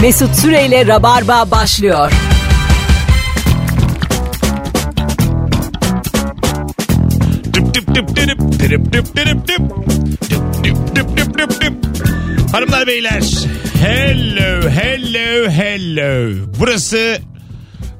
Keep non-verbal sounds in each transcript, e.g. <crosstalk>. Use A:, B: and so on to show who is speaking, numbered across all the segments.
A: Mesut Süreyle Rabarba başlıyor.
B: Düp düp düp düp düp düp düp düp. Düp düp düp düp düp düp. Hanımlar beyler. Hello hello hello. Burası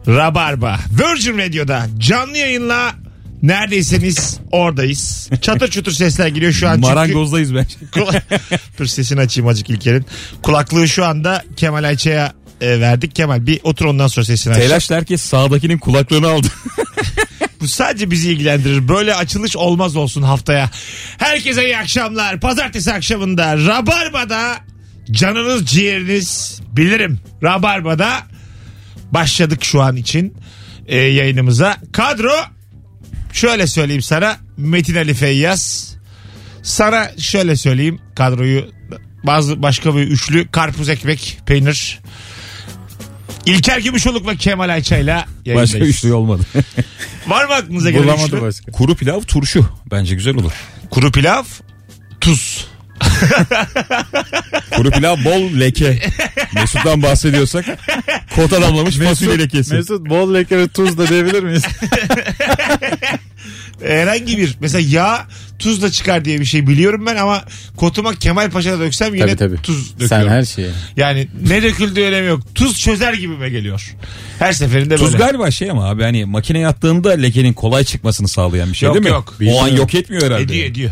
B: Rabarba. Virgin Radio'da canlı yayınla neredeyseniz oradayız. Çatır çutur sesler geliyor şu an. çünkü-
C: Marangozdayız <laughs> bence.
B: Kula- <laughs> Dur sesini açayım acık İlker'in. Kulaklığı şu anda Kemal Ayça'ya e, verdik. Kemal bir otur ondan sonra sesini aç.
C: Telaşla herkes sağdakinin kulaklığını aldı.
B: Bu sadece bizi ilgilendirir. Böyle açılış olmaz olsun haftaya. Herkese iyi akşamlar. Pazartesi akşamında Rabarba'da canınız ciğeriniz bilirim. Rabarba'da başladık şu an için e, yayınımıza. Kadro şöyle söyleyeyim sana. Metin Ali Feyyaz. Sana şöyle söyleyeyim kadroyu. Bazı başka bir üçlü karpuz ekmek peynir. İlker Gümüşoluk ve Kemal Ayça'yla yayındayız.
C: Başka üçlü olmadı. <laughs>
B: Var mı aklınıza gelen üçlü?
C: Bulamadı başka. Kuru pilav turşu. Bence güzel olur.
B: Kuru pilav, tuz.
C: Kuru pilav bol leke. Mesut'tan bahsediyorsak kot adamlamış fasulye lekesi.
D: Mesut bol leke ve tuz da diyebilir miyiz?
B: E, Herhangi bir mesela yağ tuzla çıkar diye bir şey biliyorum ben ama kotuma Kemal Paşa'da döksem yine
D: tabii tabii.
B: tuz
D: Sen
B: döküyorum.
D: her şeye.
B: Yani ne döküldüğü önemi yok. Tuz çözer gibime geliyor. Her seferinde
C: <laughs> Tuz
B: böyle.
C: galiba şey ama abi hani makineye attığında lekenin kolay çıkmasını sağlayan bir şey
B: Yok,
C: değil mi?
B: yok.
C: O an yok etmiyor herhalde.
B: Ediyor ediyor.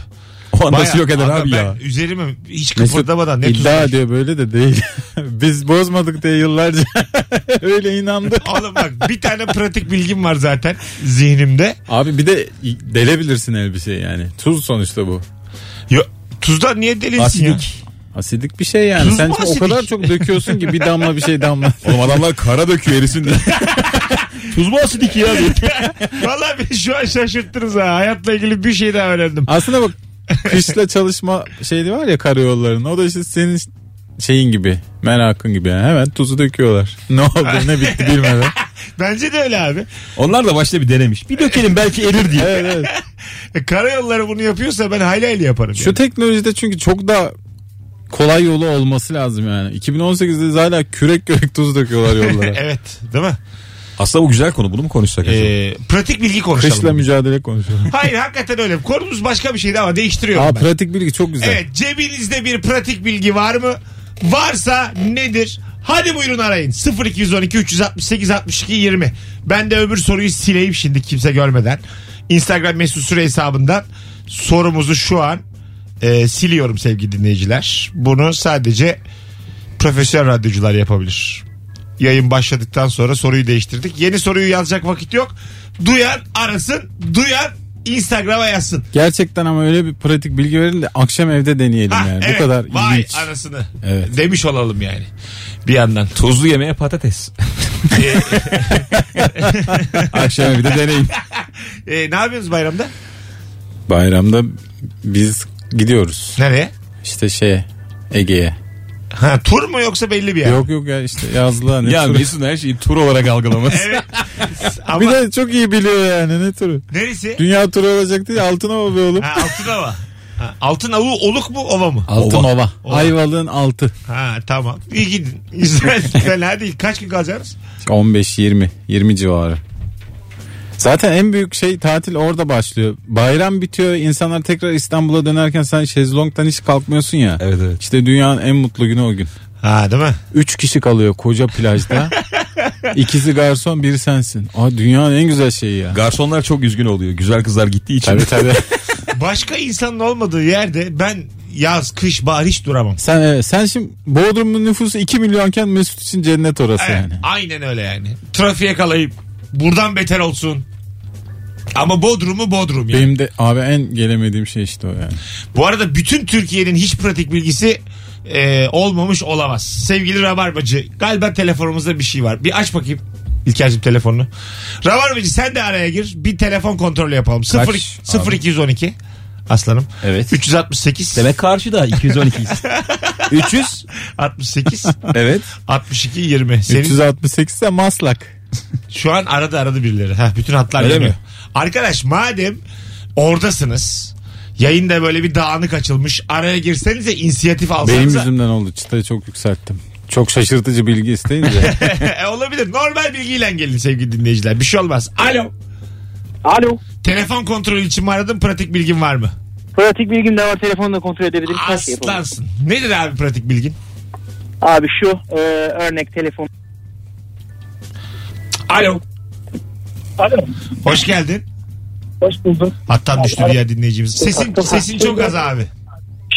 C: O an
B: Bayağı
C: nasıl yok eder
B: adam
C: abi
B: ben
C: ya?
B: Üzerime hiç
D: Mesut
B: kıpırdamadan ne tuz.
D: iddia ediyor böyle de değil. <laughs> Biz bozmadık diye yıllarca <laughs> öyle inandı.
B: Oğlum bak bir tane pratik bilgim var zaten zihnimde.
D: Abi bir de delebilirsin elbiseyi yani. Tuz sonuçta bu.
B: Yo, tuzdan niye delinsin ya?
C: Asidik.
D: Asidik bir şey yani.
B: Tuz
D: Sen
B: mu
D: o
B: asidik?
D: kadar çok döküyorsun ki bir damla bir şey <laughs> damla.
C: Oğlum adamlar kara döküyor erisin diye. Tuz mu asidik ya? diye.
B: Valla beni şu an şaşırttınız ha. Hayatla ilgili bir şey daha öğrendim.
D: Aslında bak kışla çalışma şeyi var ya karayollarının. O da işte senin şeyin gibi merakın gibi yani. hemen tuzu döküyorlar. Ne oldu ne bitti <laughs> bilmeden.
B: Bence de öyle abi.
C: Onlar da başta bir denemiş. Bir dökelim belki erir diye.
D: Evet evet.
B: E, karayolları bunu yapıyorsa ben hayli hayli yaparım.
D: Şu
B: yani.
D: teknolojide çünkü çok da kolay yolu olması lazım yani. 2018'de hala kürek kürek tuz
B: <laughs>
D: döküyorlar yollara.
B: Evet değil mi?
C: Aslında bu güzel konu. Bunu mu konuşsak acaba?
B: Ee, pratik bilgi konuşalım.
D: Kışla mücadele konuşuyorlar.
B: Hayır hakikaten öyle. Konumuz başka bir şeydi ama değiştiriyorum
D: Aa,
B: ben.
D: pratik bilgi çok güzel.
B: Evet cebinizde bir pratik bilgi var mı? Varsa nedir? Hadi buyurun arayın. 0212 368 62 20. Ben de öbür soruyu sileyim şimdi kimse görmeden. Instagram mesut süre hesabından sorumuzu şu an e, siliyorum sevgili dinleyiciler. Bunu sadece profesyonel radyocular yapabilir. Yayın başladıktan sonra soruyu değiştirdik. Yeni soruyu yazacak vakit yok. Duyan arasın, duyan Instagram'a yazsın.
D: Gerçekten ama öyle bir pratik bilgi verin de akşam evde deneyelim
B: Ha,
D: yani.
B: evet.
D: Bu kadar
B: Vay
D: ilginç.
B: anasını.
D: Evet.
B: Demiş olalım yani. Bir yandan.
C: Tuzlu yemeğe patates.
D: Akşam evde
B: <laughs>
D: deneyin.
B: E, ne yapıyorsunuz bayramda?
D: Bayramda biz gidiyoruz.
B: Nereye?
D: İşte şey Ege'ye.
B: Ha, tur mu yoksa belli bir yer?
D: Yok yok ya işte yazlığa ne
C: ya
D: turu.
C: Mesut'un her şeyi tur olarak algılaması.
B: Evet. Ama
D: <laughs> Bir de çok iyi biliyor yani ne turu.
B: neresi?
D: Dünya turu olacak değil Altınova be oğlum.
B: Ha, Altınova. Ha, Altınavu oluk mu ova mı?
D: Altınova.
B: Ova.
D: Ayvalık'ın altı.
B: Ha tamam. İyi gidin. Güzel. <laughs> Fena değil. Kaç gün kalacaksınız?
D: 15-20 20 civarı. Zaten en büyük şey tatil orada başlıyor. Bayram bitiyor. insanlar tekrar İstanbul'a dönerken sen şezlongdan hiç kalkmıyorsun ya.
C: <laughs> Evet, evet.
D: İşte dünyanın en mutlu günü o gün.
B: Ha değil mi?
D: 3 kişi kalıyor koca <laughs> plajda. İkisi garson, biri sensin. Aa dünyanın en güzel şeyi ya.
C: Garsonlar çok üzgün oluyor. Güzel kızlar gittiği için.
D: <laughs> Tabii tabii.
B: Başka insanın olmadığı yerde ben yaz, kış, bahar hiç duramam.
D: <laughs> sen evet, sen şimdi Bodrum'un nüfusu 2 milyonken Mesut için cennet orası
B: Evet,
D: yani.
B: Aynen öyle yani. Trafiğe kalayıp buradan beter olsun. Ama Bodrum'u Bodrum yani.
D: Benim de abi en gelemediğim şey işte o <laughs> yani.
B: Bu arada bütün Türkiye'nin hiç pratik bilgisi e, olmamış olamaz. Sevgili Rabarbacı galiba telefonumuzda bir şey var. Bir aç bakayım İlker'cim telefonunu. Rabarbacı sen de araya gir. Bir telefon kontrolü yapalım.
D: Kaç
B: 0, 0212 aslanım.
C: Evet.
B: 368
C: Demek karşıda 212.
D: 300
B: 68
C: <laughs> evet.
B: 62 20. Senin
D: 368 ise Maslak.
B: şu an aradı aradı birileri. Heh, bütün hatlar
C: Öyle
B: yanıyor.
C: mi?
B: Arkadaş madem oradasınız yayında böyle bir dağınık açılmış araya girsenize inisiyatif alsanıza.
D: Benim yüzümden oldu. Çıtayı çok yükselttim. Çok şaşırtıcı bilgi <laughs> isteyince.
B: <laughs> E, Olabilir. Normal bilgiyle gelin sevgili dinleyiciler. Bir şey olmaz. Alo.
E: Alo.
B: Telefon kontrolü için mi aradın? Pratik bilgin var mı?
E: Pratik bilgim de var. Telefonla kontrol edebilirim. Her şey yapabilirim.
B: Aslansın. Nedir abi pratik bilgin?
E: Abi şu e, örnek telefon.
B: Alo.
E: Alo.
B: Hoş geldin.
E: Hoş bulduk.
B: Hattan düştü diğer dinleyicimiz. Sesin, sesin çok az abi.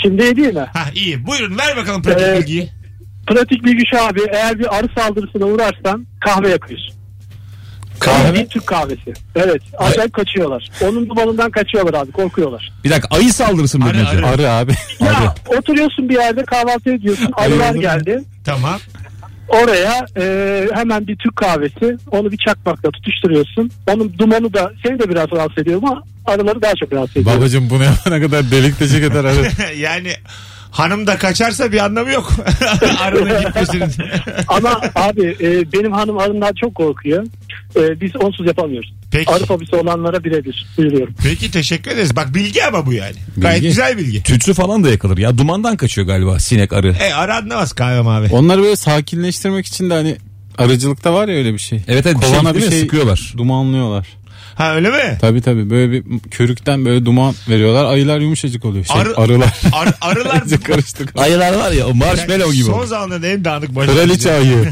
E: Şimdi değil mi?
B: Ha iyi. Buyurun ver bakalım pratik
E: Evet.
B: bilgiyi.
E: Pratik bilgi şu abi. Eğer bir arı saldırısına uğrarsan kahve yakıyorsun.
C: Kahve.
E: Bir Türk kahvesi. Evet. Acayip kaçıyorlar. Onun dumanından kaçıyorlar abi. Korkuyorlar.
C: Bir dakika ayı saldırısı mı
B: Arı,
C: dedin?
B: arı.
D: Arı <laughs> abi.
E: Ya oturuyorsun bir yerde kahvaltı ediyorsun. Arılar
D: Hayırdır?
E: geldi.
B: Tamam. <laughs>
E: Oraya e, hemen bir Türk kahvesi. Onu bir çakmakla tutuşturuyorsun. Onun dumanı da seni de biraz rahatsız ediyor ama arıları daha çok rahatsız ediyor.
D: Babacım bunu yapana kadar delik deşik eder <laughs> arı.
B: yani hanım da kaçarsa bir anlamı yok. <laughs> Arada gitmesinin.
E: Ama abi e, benim hanım arından çok korkuyor. E, biz onsuz yapamıyoruz.
B: Peki.
E: Arı fobisi olanlara birebir duyuruyorum.
B: Peki teşekkür ederiz. Bak bilgi ama bu yani. Gayet
C: Bilgi.
B: güzel bilgi.
C: Tütsü falan da yakılır ya. Dumandan kaçıyor galiba sinek arı.
B: E ara anlamaz kahve mavi.
D: Onları böyle sakinleştirmek için de hani arıcılıkta var ya öyle bir şey.
C: Evet evet bir şey,
D: Kovana
C: değil mi?
D: bir şey-
C: sıkıyorlar.
D: Dumanlıyorlar.
B: Ha öyle mi?
D: Tabi tabi böyle bir körükten böyle duman veriyorlar. Ayılar yumuşacık oluyor. Şey,
B: Arı-
D: arılar.
B: Ar- <laughs>
D: <laughs>
B: arılar
D: İyice
B: <laughs>
D: karıştık.
C: Ayılar var ya o marshmallow gibi.
B: Son zamanların en dağınık başı.
D: Kraliçe ayı.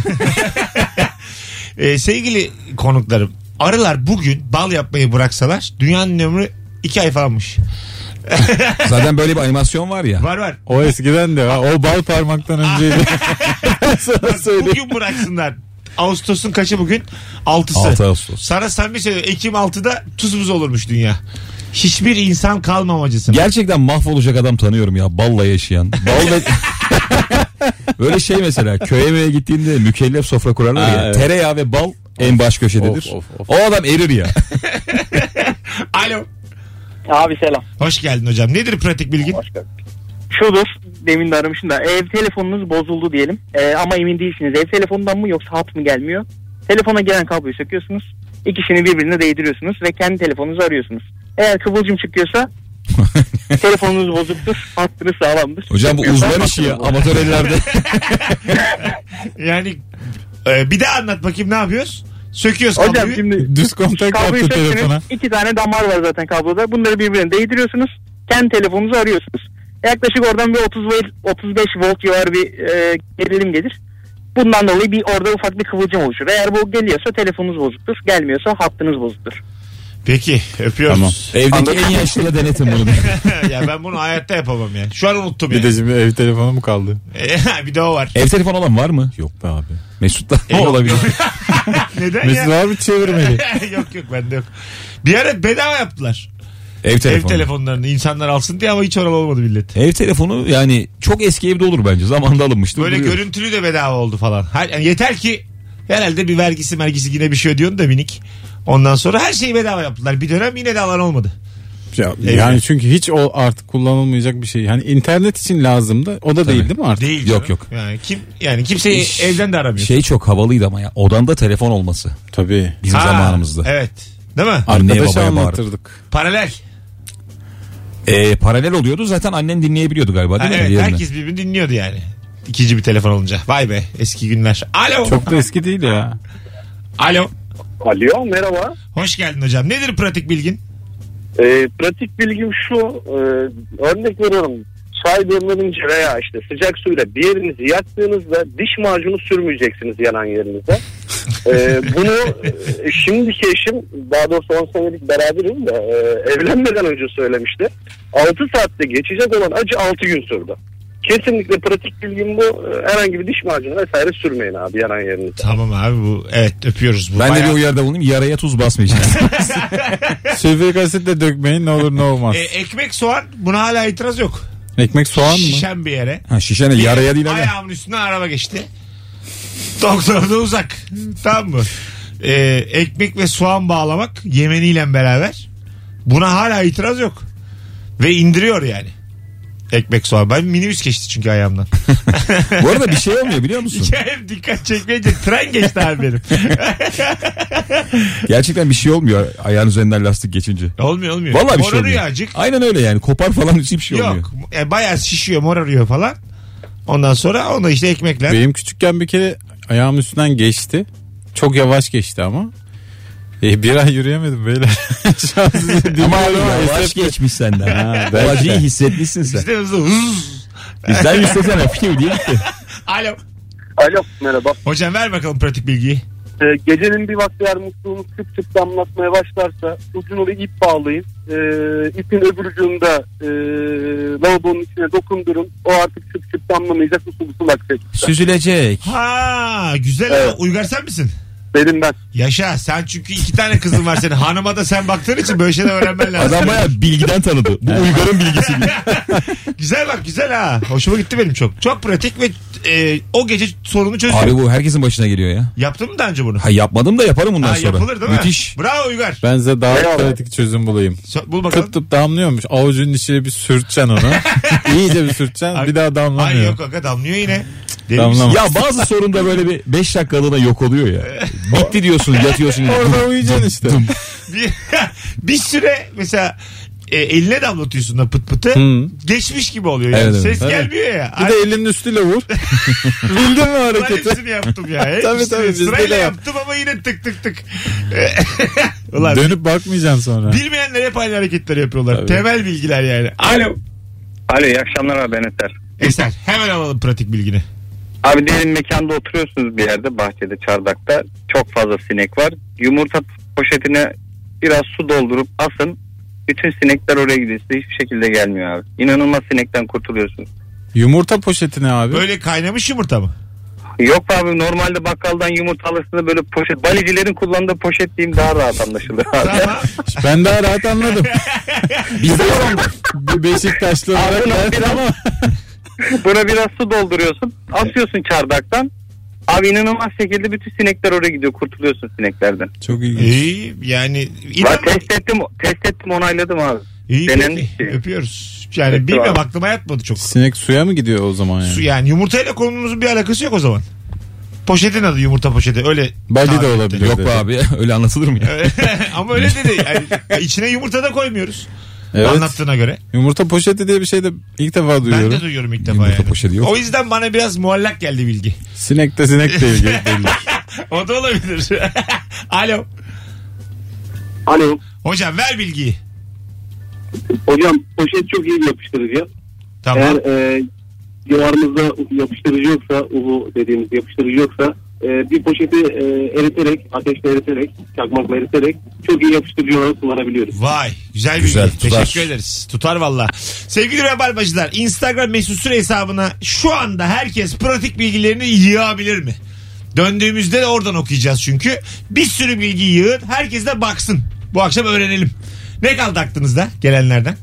B: E, sevgili konuklarım arılar bugün bal yapmayı bıraksalar dünyanın ömrü iki ay falanmış.
C: Zaten böyle bir animasyon var ya.
B: Var var.
D: O eskiden de ha. O bal
B: <laughs>
D: parmaktan önceydi. Ben Sana söyleyeyim.
B: Bugün bıraksınlar. Ağustos'un kaçı bugün? 6'sı.
C: 6 Ağustos.
B: Sana samimi söylüyorum. Ekim 6'da tuz buz olurmuş dünya. Hiçbir insan kalmamacısın.
C: Gerçekten mahvolacak adam tanıyorum ya balla yaşayan. <laughs> Balla... Böyle şey mesela köye eve gittiğinde mükellef sofra kurarlar
D: Ha,
C: ya.
D: evet.
C: Tereyağı ve bal en baş köşededir.
D: Of, of, of.
C: O adam erir ya.
B: Alo.
F: Abi selam.
B: Hoş geldin hocam. Nedir pratik bilgin?
F: Şudur demin de aramışım da ev telefonunuz bozuldu diyelim Ee, ama emin değilsiniz ev telefonundan mı yoksa hat mı gelmiyor. Telefona gelen kabloyu söküyorsunuz ikisini birbirine değdiriyorsunuz ve kendi telefonunuzu arıyorsunuz. Eğer kıvılcım
C: <laughs>
F: çıkıyorsa telefonunuz bozuktur hattınız sağlamdır.
C: Hocam bu
F: Çıkmıyorsa
C: uzman işi ya
F: hattınız
C: amatör ellerde.
B: <laughs> Yani e, bir daha anlat bakayım ne yapıyoruz? Söküyoruz
F: bozuk. Hocam
B: kabloyu.
F: şimdi
D: Düz kontak
F: kabloyu
D: yaptı telefona.
F: söktünüz iki tane damar var zaten kabloda bunları birbirine değdiriyorsunuz kendi telefonunuzu arıyorsunuz. Yaklaşık oradan bir 30 volt, 35 volt civarı bir e, gerilim gelir. Bundan dolayı bir orada ufak bir kıvılcım oluşur. Eğer bu geliyorsa telefonunuz bozuktur. Gelmiyorsa hattınız bozuktur.
B: Peki öpüyoruz.
C: Evdeki en yaşlıya denetin
B: <laughs>
C: bunu.
B: ya ben bunu hayatta yapamam yani. Şu an unuttum
D: Bir
B: yani.
D: de şimdi ev telefonu mu kaldı?
B: <laughs> E, bir de o var.
C: Ev telefonu olan var mı?
D: Yok be abi.
C: Mesut'ta
B: E, yok, <laughs>
C: olabilir.
B: yok. Neden
D: Mesut
B: ya?
D: abi çevirmeli.
B: <laughs> yok yok bende yok. Bir ara bedava yaptılar.
C: Ev telefonu.
B: Ev telefonlarını insanlar alsın diye ama hiç oralı olmadı millet.
C: Ev telefonu yani çok eski evde olur bence. Zamanında alınmıştır.
B: Böyle
C: duruyor.
B: görüntülü de bedava oldu falan. Her, yani yeter ki herhalde bir vergisi mergisi yine bir şey ödüyorsun da minik. Ondan sonra her şeyi bedava yaptılar. Bir dönem yine de alan olmadı.
D: Ya, yani çünkü hiç o artık kullanılmayacak bir şey. Yani internet için lazımdı. O da değil değil mi artık?
B: Değil. canım.
C: Yok, yok.
B: Yani kim yani kimseyi
C: İş-
B: evden de aramıyor.
C: Şey çok havalıydı ama ya. Odanda telefon olması.
D: Tabii.
C: Bizim
B: Ha,
C: zamanımızda.
B: Evet. Değil mi?
C: Anneye
D: Arkadaşa
C: babaya bağırıp.
D: anlatırdık.
B: Paralel.
C: Ee, paralel oluyordu zaten annen dinleyebiliyordu galiba
B: Ha,
C: değil mi?
B: evet,
C: Diğerini.
B: herkes birbirini dinliyordu yani. İkinci bir telefon olunca. Vay be eski günler. Alo.
D: Çok da eski değil ya.
B: Alo.
G: Alo merhaba.
B: Hoş geldin hocam. Nedir pratik bilgin?
G: Ee, pratik bilgim şu. e, örnek veriyorum. Çay demlenince veya işte sıcak suyla bir yerinizi yaktığınızda diş macunu sürmeyeceksiniz yanan yerinize. Ee, bunu e, şimdiki eşim daha doğrusu 10 senelik beraberim de e, evlenmeden önce söylemişti. 6 saatte geçecek olan acı 6 gün sürdü. Kesinlikle pratik bilgim bu. Ee, Herhangi bir diş macunu vesaire sürmeyin abi yanan yerinize.
B: Tamam abi bu evet öpüyoruz. Bu
C: Ben de
B: bayağı-
C: bir uyarıda bulunayım yaraya tuz basmayacağız.
B: <laughs>
D: Sülfürik asit de dökmeyin ne olur ne olmaz.
B: E, ekmek soğan buna hala itiraz yok.
D: <laughs> Ekmek soğan mı?
B: Şişen bir yere.
C: ha, şişene yaraya değil ama.
B: Ayağımın üstüne araba geçti. Doktor da uzak. tamam mı? Ee, ekmek ve soğan bağlamak yemeniyle beraber. Buna hala itiraz yok. Ve indiriyor yani. Ekmek soğan. Ben minibüs geçti çünkü ayağımdan.
C: Bu arada bir şey olmuyor biliyor
B: <laughs>
C: musun?
B: Hep dikkat çekmeyince tren geçti abi benim.
C: Gerçekten bir şey olmuyor ayağın üzerinden lastik geçince.
B: <laughs> olmuyor olmuyor.
C: Vallahi bir şey
B: Morarıyor
C: olmuyor.
B: acık.
C: Aynen öyle yani kopar falan hiçbir şey olmuyor.
B: Yok. E, bayağı şişiyor morarıyor falan. Ondan sonra onu işte ekmekle.
D: Benim küçükken bir kere ayağım üstünden geçti. Çok yavaş geçti ama. E, bir ay yürüyemedim böyle. <laughs>
C: Ama yavaş geçmiş senden. <laughs> Ha, Acıyı hissetmişsin sen.
B: İşte hızlı hız.
C: Bizden istesene şey fikiv diye gitti.
B: Alo.
G: Alo merhaba.
B: Hocam ver bakalım pratik bilgiyi.
G: Ee, gecenin bir vakti eğer musluğunuz sık sık damlatmaya başlarsa ucunu bir ip bağlayın. Ee, ipin öbür ucunda e, lavabonun içine dokundurun. O artık sık sık damlamayacak usul usul akacak.
C: Süzülecek.
B: Ha güzel ama
G: Evet.
B: Uygar sen misin?
G: Dedim ben.
B: Yaşa sen çünkü iki tane kızın var senin. Hanıma da sen baktığın için böyle şeyler öğrenmen lazım.
C: Adam baya bilgiden tanıdı. Bu Uygar'ın bilgisi gibi.
B: güzel bak güzel ha. Hoşuma gitti benim çok. Çok pratik ve e, o gece sorunu çözüyor.
C: Abi bu herkesin başına geliyor ya.
B: Yaptın mı daha önce bunu?
C: Ha yapmadım da yaparım bundan
B: Ha,
C: sonra.
B: yapılır değil mi?
C: Müthiş.
B: Bravo Uygar.
D: Ben size daha
G: Eyvallah.
D: pratik çözüm bulayım.
B: So- bul bakalım.
D: Tıp tıp damlıyormuş. Avucunun içine bir sürteceksin onu. İyice bir sürteceksin.
B: Abi-
D: Bir daha
B: Ay
D: damlamıyor.
B: yok aga damlıyor yine. Deli
D: Damlamaz.
B: misin?
C: Ya bazı sorun da böyle bir 5 dakikalığına yok oluyor ya. Bitti diyorsun yatıyorsun.
B: <laughs>
D: <laughs> Orada uyuyacaksın işte.
B: <laughs> Bir, bir süre mesela e, eline damlatıyorsun da pıt pıtı.
D: Hı.
B: Geçmiş gibi oluyor yani.
C: Evet, evet.
B: Ses
D: Hmm. Evet.
B: gelmiyor ya.
D: Bir
B: Ay,
D: de elinin
B: <laughs>
D: üstüyle vur. Bildin mi
B: ben
D: hareketi?
B: hepsini yaptım
D: <laughs>
B: ya. Hepsini.
D: tabii, bizde de
B: Sırayla
D: yap.
B: yaptım ama yine tık tık tık. <laughs> Ulan
D: Dönüp bakmayacaksın sonra.
B: bilmeyenler hep aynı hareketleri yapıyorlar.
D: Tabii.
B: Temel bilgiler yani. Alo.
F: Alo iyi akşamlar abi Er. ben Eser.
B: Eser hemen alalım pratik bilgini.
F: Abi derin mekanda oturuyorsunuz bir yerde bahçede çardakta çok fazla sinek var. Yumurta poşetine biraz su doldurup asın. Bütün sinekler oraya gidiyor. Size hiçbir şekilde gelmiyor abi. İnanılmaz sinekten kurtuluyorsunuz.
D: Yumurta poşetine abi.
B: Böyle kaynamış yumurta mı?
F: Yok abi normalde bakkaldan yumurta alırsın da böyle poşet. Balicilerin kullandığı poşet diyeyim daha rahat anlaşılır abi.
B: Tamam.
D: Ben daha rahat anladım.
B: <laughs>
D: Biz de bir Beşiktaşlı olarak
F: Abi,
D: ben-
F: biraz- <laughs> Buna biraz su dolduruyorsun. Asıyorsun çardaktan. Abi inanılmaz şekilde bütün sinekler oraya gidiyor. Kurtuluyorsun sineklerden.
D: Çok ilginç.
B: İyi yani.
F: Bak,
B: İnan-
F: test ettim, test ettim onayladım abi.
B: İyi
F: Denen-
B: peki. Öpüyoruz. Yani
F: Peki,
B: bilmem
F: abi.
B: aklıma yatmadı çok.
D: Sinek suya mı gidiyor o zaman yani?
B: Su yani yumurtayla konumuzun bir alakası yok o zaman. Poşetin adı yumurta poşeti öyle.
D: Bali
B: tarif
D: de
B: etti.
D: olabilir.
C: Yok be abi <laughs> öyle anlatılır mı ya?
B: <laughs> Ama öyle dedi. Yani içine yumurta da koymuyoruz.
D: Evet.
B: Anlattığına göre.
D: Yumurta poşeti diye bir şey de ilk defa
B: Ben
D: duyuyorum.
B: de duyuyorum ilk defa
C: Yumurta
B: yani.
C: poşeti yok.
B: O yüzden bana biraz muallak geldi bilgi. <laughs>
D: Sinek de sinek değil. belli.
B: O da olabilir. <laughs> Alo.
E: Alo.
B: Hocam ver bilgiyi.
E: Hani Hocam poşet çok iyi bir yapıştırıcı.
B: Tamam.
E: Eğer e, civarımızda yapıştırıcı yoksa, uhu dediğimiz yapıştırıcı yoksa e, bir poşeti e, eriterek, ateşte eriterek, çakmakla eriterek çok iyi yapıştırıcı olarak kullanabiliyoruz.
B: Vay güzel,
C: Güzel,
B: bilgi.
C: tutar.
B: Teşekkür ederiz. Tutar valla. Sevgili Rabarbacılar Instagram mesut süre hesabına şu anda herkes pratik bilgilerini yığabilir mi? Döndüğümüzde de oradan okuyacağız çünkü. Bir sürü bilgi yığın. Herkes de baksın. Bu akşam öğrenelim. Ne kaldı aklınızda gelenlerden?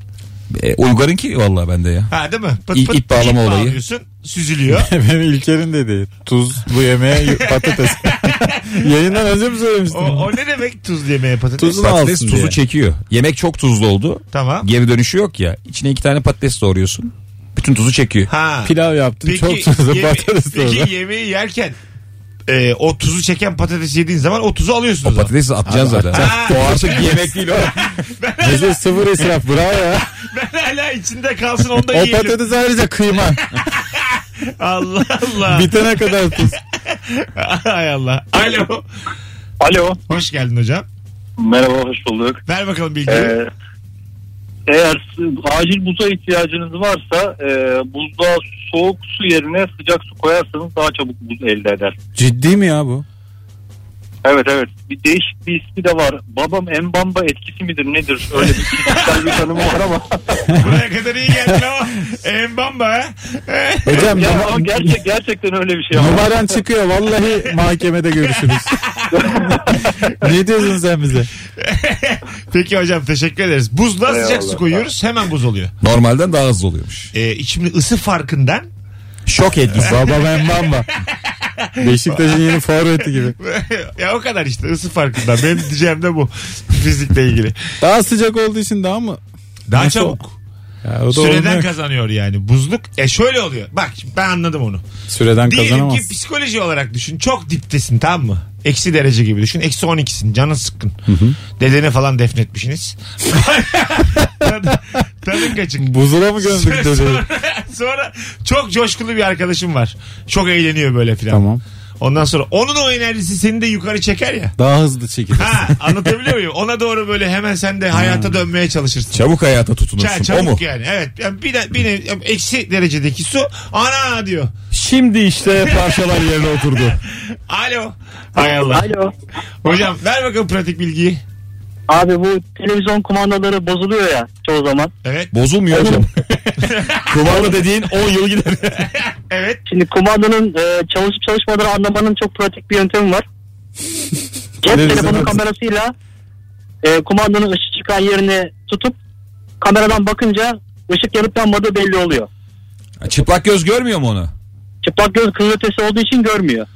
C: E, Uygar'ınki vallahi bende ya.
B: Ha değil mi? Pıt
C: İ- ip bağlama olayı.
B: bağlıyorsun, Süzülüyor.
D: Benim İlker'in dediği tuz bu yemeğe patates.
B: <laughs>
D: Yayından önce mi
B: O,
C: <laughs>
D: söylemiştim?
B: o ne demek tuz yemeye patates?
D: Tuzunu
C: Patates
D: alsın
C: tuzu
D: diye.
C: çekiyor. Yemek çok tuzlu oldu.
B: Tamam.
C: Geri dönüşü yok ya. İçine iki tane patates doğruyorsun. Bütün tuzu çekiyor.
B: Ha.
D: Pilav yaptın
B: Peki,
D: çok tuzlu
B: yeme-
D: patates oldu.
B: peki yemeği yerken e, o tuzu çeken patatesi yediğin zaman o tuzu alıyorsun o
C: O
B: zaman.
C: patatesi atacaksın zaten.
B: atacaksın.
C: O artık yemek değil o.
B: <laughs>
D: Bize sıfır israf bravo ya.
B: Ben hala içinde kalsın onu da
D: O
B: yiyelim.
D: patates ayrıca kıyma.
B: <laughs> Allah Allah.
D: Bitene kadar tuz.
B: Hay Allah. Alo.
G: Alo.
B: Hoş geldin hocam.
G: Merhaba hoş bulduk.
B: Ver bakalım bilgiyi.
G: Ee, eğer s- acil buza ihtiyacınız varsa e, buzluğa soğuk su yerine sıcak su koyarsanız daha çabuk buz elde eder.
D: Ciddi mi ya bu?
G: Evet evet. Bir değişik bir ismi de var. Babam embamba etkisi midir nedir? Öyle bir kişisel bir tanımı var ama.
B: <laughs> Buraya kadar iyi geldin ama. En bamba ha.
D: Hocam
G: ya,
D: numa-
G: <laughs> ama gerçek, gerçekten öyle bir şey var.
D: numaran çıkıyor vallahi
B: <laughs>
D: mahkemede görüşürüz. ne diyorsun sen bize?
B: Peki hocam teşekkür ederiz. Buzla sıcak su koyuyoruz hemen buz oluyor.
C: Normalden daha hızlı oluyormuş.
B: Ee, içimde ısı farkından <laughs>
C: Şok etkisi.
D: Baba ben bamba. Beşiktaş'ın yeni forveti gibi.
B: ya o kadar işte ısı farkından. Benim diyeceğim de bu fizikle ilgili.
D: Daha sıcak olduğu için daha mı?
B: Daha
D: Nasıl?
B: çabuk.
D: Ya, o da
B: Süreden
D: olmuyor.
B: kazanıyor yani. Buzluk. E şöyle oluyor. Bak şimdi ben anladım onu.
D: Süreden
B: Diyelim ki
D: kazanamaz.
B: psikoloji olarak düşün. Çok diptesin tamam mı? Eksi derece gibi düşün. Eksi <laughs> 12'sin. Canın sıkkın. Dedeni falan defnetmişsiniz. Tadın kaçık.
D: Buzula mı gömdük dedi.
B: sonra, sonra çok coşkulu bir arkadaşım var. Çok eğleniyor böyle filan.
D: Tamam.
B: Ondan sonra onun o enerjisi seni de yukarı çeker ya.
D: Daha hızlı çekilir.
B: Ha anlatabiliyor muyum? Ona doğru böyle hemen sen de hayata dönmeye çalışırsın.
C: Hmm. Çabuk hayata
B: Ça-
C: tutunursun. o mu?
B: çabuk yani. Evet. Yani bir, de, bir de- eksi derecedeki su ana diyor.
C: Şimdi işte parçalar yerine oturdu.
B: Alo. Hay Allah.
F: Alo.
B: Hocam ver bakalım pratik bilgiyi.
F: Abi bu televizyon kumandaları bozuluyor ya çoğu zaman.
B: Evet.
C: <laughs> Bozulmuyor <laughs> hocam. Kumanda dediğin 10 yıl gider.
B: Evet.
F: Şimdi kumandanın e, çalışıp çalışmadığını anlamanın çok pratik bir yöntemi var. Cep
D: Televizyon
F: telefonu
D: arası.
F: kamerasıyla e, kumandanın ışık çıkan yerini tutup kameradan bakınca ışık yanıp yanmadığı belli oluyor.
C: Çıplak göz görmüyor mu onu?
F: Çıplak göz kızıl ötesi olduğu için görmüyor.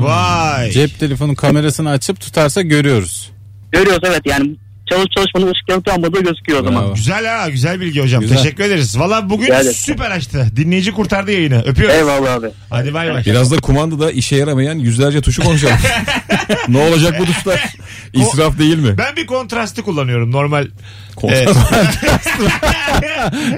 B: Vay.
D: Cep telefonu kamerasını açıp tutarsa görüyoruz.
F: Görüyoruz evet yani çalışıp çalışmanın ışık yanıp yanmadığı gözüküyor o zaman.
D: Bravo.
B: Güzel ha güzel bilgi hocam.
D: Güzel.
B: Teşekkür ederiz. Valla bugün
F: Rica ederim.
B: süper açtı. Dinleyici kurtardı yayını. Öpüyoruz.
F: Eyvallah abi.
B: Hadi bay bay.
C: Biraz da kumandada işe yaramayan yüzlerce tuşu konuşalım.
B: <laughs>
C: ne olacak bu tuşlar? İsraf değil mi?
B: Ben bir kontrastı kullanıyorum normal.
C: Kontrast-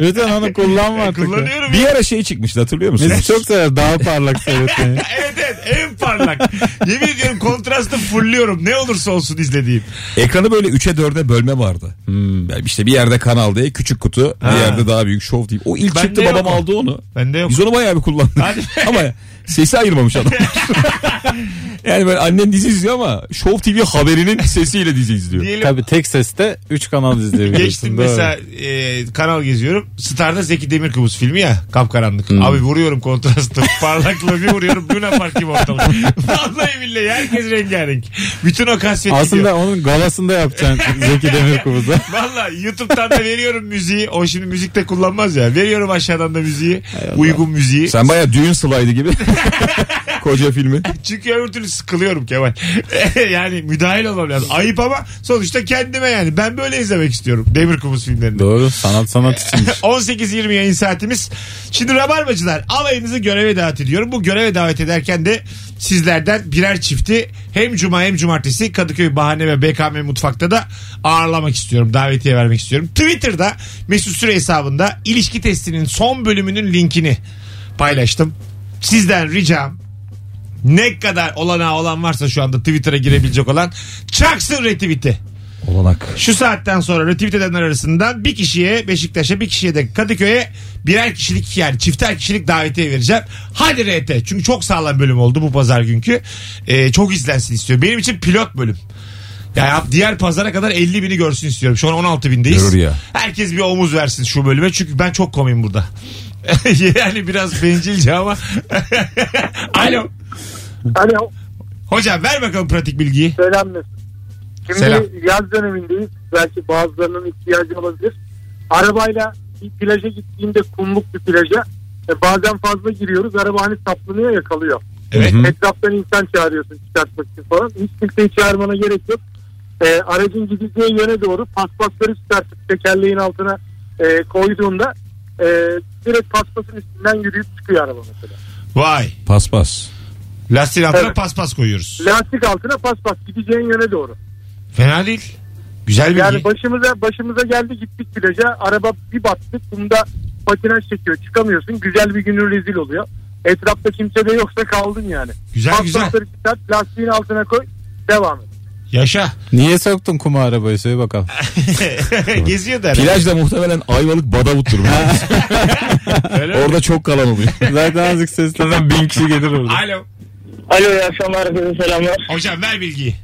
D: Lütfen onu kullanma artık. ya.
B: Ee, Kullanıyorum.
C: Bir ara şey çıkmıştı hatırlıyor musunuz?
D: Mesut çok sever daha parlak seyretmeyi.
B: <laughs> Evet evet en parlak. Yemin ediyorum kontrastı fullüyorum. Ne olursa olsun izlediğim.
C: Ekranı böyle 3'e 4'e bölme vardı. Hmm, Yani işte bir yerde Kanal D küçük kutu, bir
B: Ha.
C: yerde daha büyük şov deyip. O ilk
B: Bende
C: çıktı
B: yok
C: babam
B: o.
C: aldı onu.
B: Bende yok.
C: Biz onu bayağı bir kullandık.
B: Hadi.
C: <laughs> ama sesi
B: <laughs>
C: ayırmamış adam. yani böyle annen dizi izliyor ama Show TV haberinin sesiyle dizi izliyor.
B: Diyelim
D: Tabii tek seste 3 kanal izleyebilirsin.
B: geçtim
D: Doğru.
B: mesela e, kanal geziyorum. Star'da Zeki Demirkubuz filmi ya. Kapkaranlık. Abi vuruyorum kontrastı. <laughs> Parlaklığı bir vuruyorum. Luna Park gibi ortalık. Vallahi billahi herkes rengarenk. Bütün o kasvet gidiyor.
D: Aslında onun galasında yapacaksın Zeki Demirkubuz'a.
B: Valla YouTube'dan da veriyorum müziği. O şimdi müzikte kullanmaz ya. Veriyorum aşağıdan da müziği. Uygun müziği.
C: Sen bayağı düğün
B: <laughs>
C: slaydı gibi. Koca filmi.
B: Çünkü öbür türlü sıkılıyorum Kemal. <laughs> yani müdahil olmam lazım. Ayıp ama sonuçta kendime yani. Ben böyle izlemek istiyorum. Demir Kubus filmlerini.
D: Doğru sanat sanat içinmiş.
B: <laughs> 18-20 yayın saatimiz. Şimdi Rabarbacılar alayınızı göreve davet ediyorum. Bu göreve davet ederken de sizlerden birer çifti hem cuma hem cumartesi Kadıköy Bahane ve BKM Mutfak'ta da ağırlamak istiyorum. Davetiye vermek istiyorum. Twitter'da Mesut Süre hesabında ilişki testinin son bölümünün linkini paylaştım. Sizden ricam ne kadar olanağı olan varsa şu anda Twitter'a girebilecek olan çaksın retweet'i.
C: Olanak.
B: Şu saatten sonra retweet edenler arasından bir kişiye Beşiktaş'a bir kişiye de Kadıköy'e birer kişilik yani çifter kişilik davetiye vereceğim. Hadi RT çünkü çok sağlam bölüm oldu bu pazar günkü. Ee, çok izlensin istiyor. Benim için pilot bölüm. Ya diğer pazara kadar 50 bini görsün istiyorum. Şu an 16 bindeyiz.
C: Görür ya.
B: Herkes bir omuz versin şu bölüme. Çünkü ben çok komiyim burada. <laughs> yani biraz bencilce ama. <laughs> Alo.
E: Hani
H: Alo,
B: Hocam ver bakalım pratik bilgiyi.
H: selam Mesut. Şimdi
B: Selam.
H: yaz dönemindeyiz. Belki bazılarının ihtiyacı olabilir. Arabayla bir plaja gittiğimde kumluk bir plaja e, bazen fazla giriyoruz. Araba hani saplanıyor ya kalıyor.
B: Evet.
H: Etraftan insan çağırıyorsun çıkartmak için falan. Hiç kimseyi çağırmana gerek yok. E, aracın gideceği yöne doğru paspasları çıkartıp tekerleğin altına e, koyduğunda e, direkt paspasın üstünden yürüyüp çıkıyor araba mesela.
B: Vay.
C: Paspas.
B: Lastiğin altına
H: Evet.
B: paspas koyuyoruz.
H: Lastik altına paspas gideceğin yöne doğru.
B: Fena değil. Güzel bilgi.
H: Yani başımıza başımıza geldi gittik plaja. Araba bir battı. Kumda patinaj çekiyor. Çıkamıyorsun. Güzel bir günün rezil oluyor. Etrafta kimse de yoksa kaldın yani.
B: Güzel, güzel.
H: Paspasları çıkart, lastiğin altına koy. Devam et.
B: Yaşa.
D: Niye soktun kuma arabayı söyle bakalım.
B: <laughs> Geziyor der.
C: Plajda muhtemelen ayvalık
D: <laughs>
C: badavuttur.
B: Öyle mi?
C: Orada çok kalan oluyor.
D: Zaten azıcık seslenen bin kişi gelir orada.
B: Alo.
F: Alo iyi akşamlar herkese selamlar.
B: Hocam ver bilgiyi.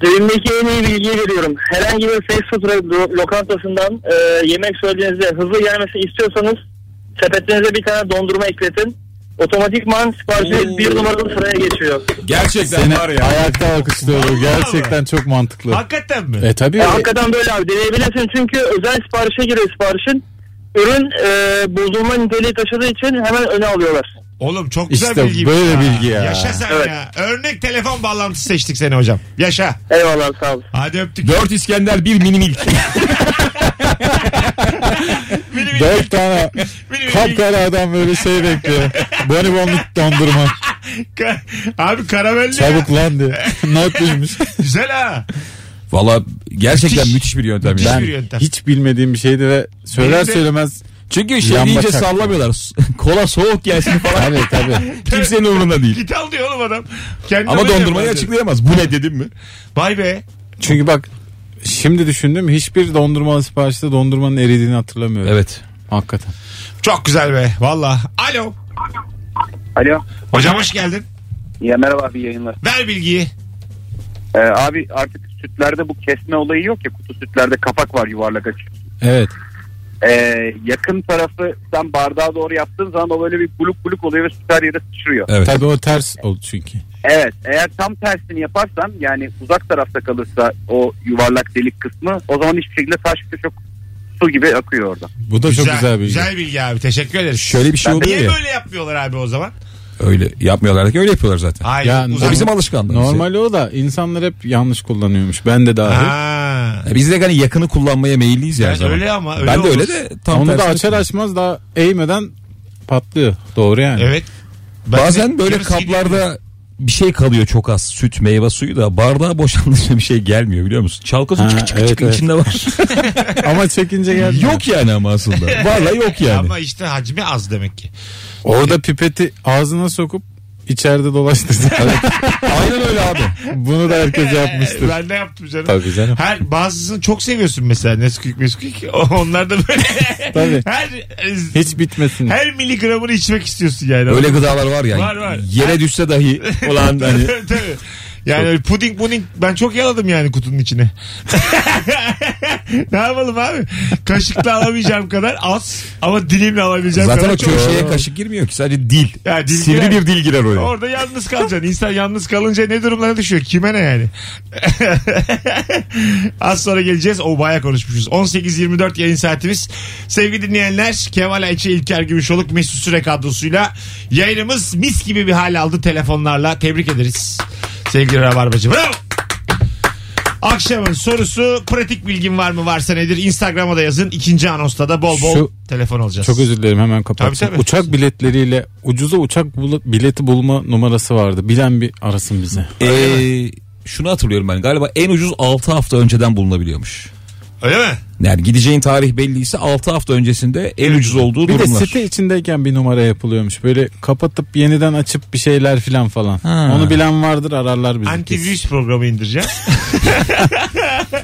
F: Düğündeki en iyi bilgiyi veriyorum. Herhangi bir fast food lo- lokantasından e, yemek söylediğinizde hızlı gelmesini istiyorsanız sepetinize bir tane dondurma ekletin. Otomatikman siparişi bir numaralı sıraya geçiyor.
C: Gerçekten
D: Seni
C: var ya.
D: ayakta alkışlıyordu. Gerçekten çok mantıklı.
B: Hakikaten mi?
D: E tabii.
F: E, hakikaten böyle abi deneyebilirsin çünkü özel siparişe giriyor siparişin. Ürün e, bozulma niteliği taşıdığı için hemen öne alıyorlar.
B: Oğlum çok güzel
D: İşte
B: bilgi.
D: böyle bilgi ya.
B: Yaşa sen
F: Evet.
B: ya. Örnek telefon bağlantısı seçtik seni hocam. Yaşa.
F: Eyvallah sağ olun.
B: Hadi öptük.
C: Dört İskender bir mini milk.
B: Mini mini-
D: Dört tane
B: mini mini-
D: kapkara adam böyle şey bekliyor. Bonibonluk dondurma.
B: Ka- <laughs> Abi karamelli. ya.
C: <laughs>
D: Çabuk lan diye. Not duymuş.
B: Güzel ha.
C: Valla gerçekten
B: Müthiş.
C: müthiş, bir <laughs> yöntem.
B: Müthiş
C: ya.
B: bir yöntem.
D: Hiç bilmediğim bir şeydi ve söyler
B: Benim de-
D: söylemez
C: Çünkü şey
D: Yan
C: iyice
D: bacak.
C: sallamıyorlar. <laughs> Kola soğuk gelsin falan.
D: tabii tabii.
C: Kimsenin umurunda değil.
B: Git al diyor oğlum adam. Kendi
C: Ama
B: haberi
C: dondurmayı
B: yapar diyor.
C: açıklayamaz. Bu ne dedim mi?
B: Vay be.
D: Çünkü bak şimdi düşündüm hiçbir dondurma siparişte dondurmanın eridiğini hatırlamıyorum.
C: Evet.
D: Hakikaten.
B: Çok güzel be. Valla. Alo.
G: Alo.
B: Hocam hoş geldin.
G: Ya merhaba abi yayınlar.
B: Ver bilgiyi.
G: Ee, abi artık sütlerde bu kesme olayı yok ya kutu sütlerde kapak var yuvarlak açık.
D: Evet.
G: Ee, yakın tarafı sen bardağa doğru yaptığın zaman o böyle bir buluk buluk oluyor ve süt her yere sıçrıyor.
C: Evet.
D: Tabii o ters oldu çünkü.
G: Evet eğer tam tersini yaparsan yani uzak tarafta kalırsa o yuvarlak delik kısmı o zaman hiçbir şekilde taş gibi çok su gibi akıyor orada.
D: Bu da çok güzel bir şey.
B: Güzel bilgi abi. Teşekkür ederiz. E
C: Şöyle bir şey oluyor
B: Niye
C: ya.
B: böyle yapmıyorlar abi o zaman?
C: Öyle yapmıyorlar ki öyle yapıyorlar zaten.
B: Hayır.
D: Yani
B: uzak-
C: O bizim alışkanlığımız.
D: Normal o da insanlar hep yanlış kullanıyormuş. Ben de dahil.
B: Ha.
C: Ya Biz de hani yakını kullanmaya meyilliyiz ya.
B: Ben
C: her zaman.
B: öyle ama, öyle
C: ben de
B: olur.
C: öyle de tam
D: Onu da
C: tersine-
D: açar açmaz daha eğmeden patlıyor. Doğru yani.
B: Evet. Ben
C: Bazen
B: de-
C: böyle
B: yarısı gidiyor.
C: kaplarda bir şey kalıyor çok az. Süt, meyve suyu da bardağa boşaltınca bir şey gelmiyor biliyor musun? Çalka su
D: Ha,
C: çıkı çıkı
D: evet,
C: çıkı
D: evet.
C: içinde
D: <laughs>
C: var.
D: <laughs> Ama çekince geldi.
C: yok yani ama
B: <laughs>
C: aslında. Valla yok yani.
B: Ama işte hacmi az demek ki.
D: Orada pipeti ağzına sokup içeride dolaştırdı.
C: <laughs> Aynen öyle abi.
D: Bunu da
B: <laughs>
D: herkes yapmıştır.
B: E, ben de yaptım canım.
D: Tabii canım.
B: Her bazısını çok seviyorsun mesela Nesquik Nesquik. O- <laughs> Onlar da böyle.
D: Tabii.
B: Her
D: <laughs> Hiç bitmesin.
B: her miligramını içmek istiyorsun yani.
C: Öyle gıdalar var ya.
B: Var, var.
C: Yere
B: <laughs>
C: düşse dahi olan hani
B: Tabii, tabii. Yani öyle puding puding ben çok yaladım yani kutunun içine. <laughs> ne yapalım abi? Kaşıkla alamayacağım kadar az ama dilimle alabileceğim
C: zaten
B: kadar
C: o
B: çok.
C: köşeye kaşık girmiyor ki sadece dil.
B: Ya dil
C: Sivri
B: girer.
C: bir dil girer oraya.
B: Orada yalnız kalacaksın. İnsan yalnız kalınca ne durumlara düşüyor? Kime ne yani? <laughs> Az sonra geleceğiz. O baya konuşmuşuz. 18.24 yayın saatimiz. Sevgili dinleyenler Kemal Ayçi, İlker Gümüşoluk, Mesut Süre kadrosuyla yayınımız mis gibi bir hal aldı telefonlarla. Tebrik ederiz. Sevgili Rabarbacı. Bravo. Akşamın sorusu pratik bilgin var mı varsa nedir? Instagram'a da yazın. İkinci anonsta da bol bol
D: Şu-
B: telefon alacağız.
D: Çok özür dilerim hemen
B: Tabii,
D: kapatsam.
B: tabii.
D: Uçak biletleriyle ucuza uçak bul- bileti bulma numarası vardı. Bilen bir arasın bize.
C: Ee, şunu hatırlıyorum ben galiba en ucuz 6 hafta önceden bulunabiliyormuş.
B: Öyle mi?
C: Yani gideceğin tarih belliyse 6 hafta öncesinde en ucuz olduğu
D: Bir de
C: durumlar.
D: site içindeyken bir numara yapılıyormuş. Böyle kapatıp yeniden açıp bir şeyler filan falan.
C: Ha.
D: Onu bilen vardır ararlar bizi.
B: Antivirüs programı indireceğim.
C: Abi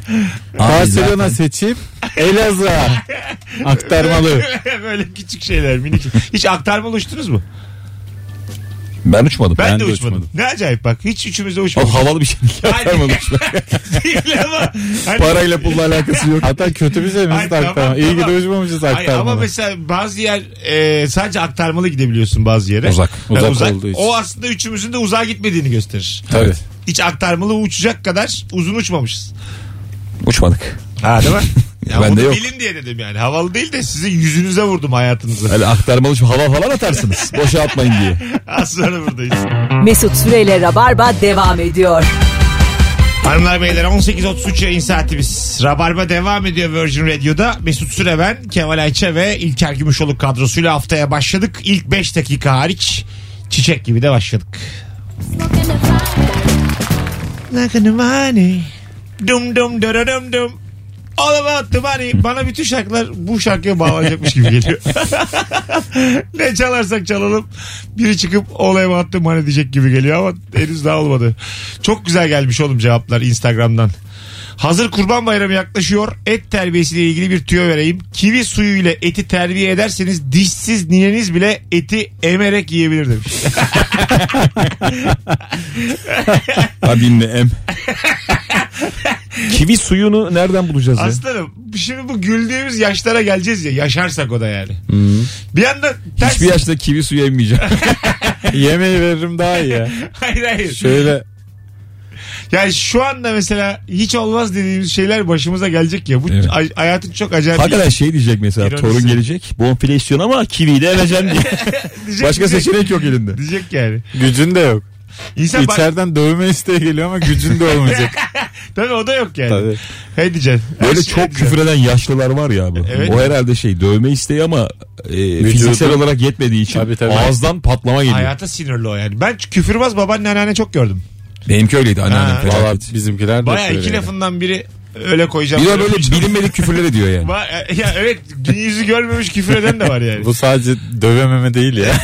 C: zaten-
D: Barcelona seçip Elazığ'a <laughs> aktarmalı.
B: <laughs> Böyle küçük şeyler minik. Hiç aktarma uçtunuz mu?
C: Ben uçmadım.
B: Ben,
D: Ben
B: de
D: de
B: uçmadım.
D: uçmadım.
B: Ne acayip bak. Hiç üçümüz de
C: O
B: uçmadık.
C: havalı bir şey değil.
B: Hayır. <laughs> Değil ama. Hani-
C: Parayla pulla alakası yok.
D: Hatta kötü bir şey
B: Ay,
D: mi?
B: tamam,
D: aktarma. İyi ki
B: tamam.
D: de uçmamışız
B: Hayır, ama
D: aktarmalı.
B: mesela bazı yer e, sadece aktarmalı gidebiliyorsun bazı yere.
C: Uzak.
B: Yani
D: Uzak olduğu için.
B: O aslında üçümüzün de uzağa gitmediğini gösterir.
D: Tabii.
C: Evet.
B: Hiç aktarmalı uçacak kadar uzun uçmamışız.
C: Uçmadık.
B: Ha değil mi? Ya
C: Bende
B: bunu
C: yok.
B: bilin diye dedim yani. Havalı değil de sizin yüzünüze vurdum
C: <laughs>
B: hayatınızı.
C: Öyle aktarmalı şu hava falan atarsınız. Boşa atmayın diye.
B: Az sonra buradayız.
A: Mesut Süreyle Rabarba devam ediyor.
B: Hanımlar beyler 18.33 yayın saatimiz. Rabarba devam ediyor Virgin Radio'da. Mesut Süre ben, Kemal Ayça ve İlker Gümüşoluk kadrosuyla haftaya başladık. İlk 5 dakika hariç çiçek gibi de başladık. Like a money. Dum dum dum dum. All about the money. Bana bütün şarkılar bu şarkıya bağlanacakmış gibi geliyor. ne çalarsak çalalım biri çıkıp olaya about the money diyecek gibi geliyor ama henüz daha olmadı. Çok güzel gelmiş oğlum cevaplar Instagram'dan. Hazır kurban bayramı yaklaşıyor. Et terbiyesiyle ilgili bir tüyo vereyim. Kivi suyu ile eti terbiye ederseniz dişsiz nineniz bile eti emerek yiyebilir
C: <laughs>
B: demiş.
C: Hadi inle em. Kivi suyunu nereden bulacağız ya?
B: Aslanım şimdi bu güldüğümüz yaşlara geleceğiz ya. Yaşarsak o da yani. Bir yandan ters...
C: Hiçbir yaşta kivi suyu emmeyeceğim.
D: Yemeği veririm daha iyi <laughs> ya.
B: <laughs> Hayır hayır.
D: Şöyle
B: Yani şu anda mesela hiç olmaz dediğimiz şeyler başımıza gelecek ya. Bu
C: Evet.
B: ay- hayatın çok acayip.
C: Hakikaten şey diyecek mesela
B: İronisi.
C: torun gelecek. Bonfile istiyorsun ama kiviyi de emeceksin diye.
B: Diyecek-
C: Başka
B: diyecek-
C: seçenek yok elinde.
B: Diyecek yani.
D: gücün de yok.
B: İnsan bak,
D: İçeriden dövme isteği geliyor ama gücün de olmayacak.
B: tabii o da yok yani.
D: <laughs> Tabii.
B: Hey diyeceksin.
C: Böyle
B: Her şey
C: çok
B: diyeceksin.
C: küfür eden yaşlılar var ya abi.
B: Evet.
C: O herhalde şey dövme isteği ama e, fiziksel olarak yetmediği için
D: Tabii, tabii.
C: ağızdan patlama geliyor.
B: Hayata sinirli o yani. Ben küfürbaz babaanne anneanne çok gördüm.
C: Benimki öyleydi anneannem
B: Ha.
C: felaket.
D: Bizimkiler de
B: Baya
D: öyle
B: iki
D: yani.
B: lafından biri öyle koyacağım.
C: Bir de
B: böyle
C: böyle bilinmedik küfürler ediyor yani.
B: Va- Ya evet gün yüzü görmemiş küfür eden de var yani.
D: Bu sadece dövememe
C: <laughs>
D: değil ya.
B: <laughs>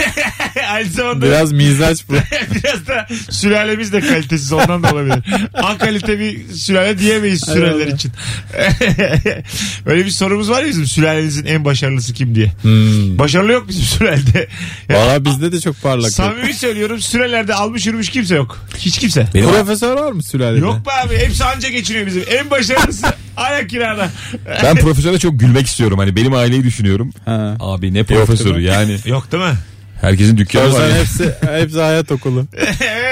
D: <laughs>
B: Aynı zamanda biraz,
D: Biraz mizaç bu.
B: <laughs> da sülalemiz de kalitesiz ondan da olabilir. A kalite bir sülale diyemeyiz süreler için. <laughs> Öyle bir sorumuz var ya bizim sülalenizin en başarılısı kim diye. Başarılı yok bizim sürelde. Yani
D: Hmm. Valla bizde de çok parlak. yok.
B: samimi söylüyorum sürelerde almış yürümüş kimse yok. Hiç kimse.
C: Benim
D: Profesör var mı sülalede?
B: Yok be abi hepsi anca geçiniyor bizim. En <laughs> başarılısı ayak kirada.
C: Ben profesöre çok gülmek istiyorum. Hani benim aileyi düşünüyorum.
D: Ha.
C: Abi ne profesörü
D: değil
C: yani.
B: Yok <laughs> değil mi?
C: Herkesin
D: O
C: dükkanı var.
D: yüzden
C: ya.
D: hepsi, hepsi hayat okulu.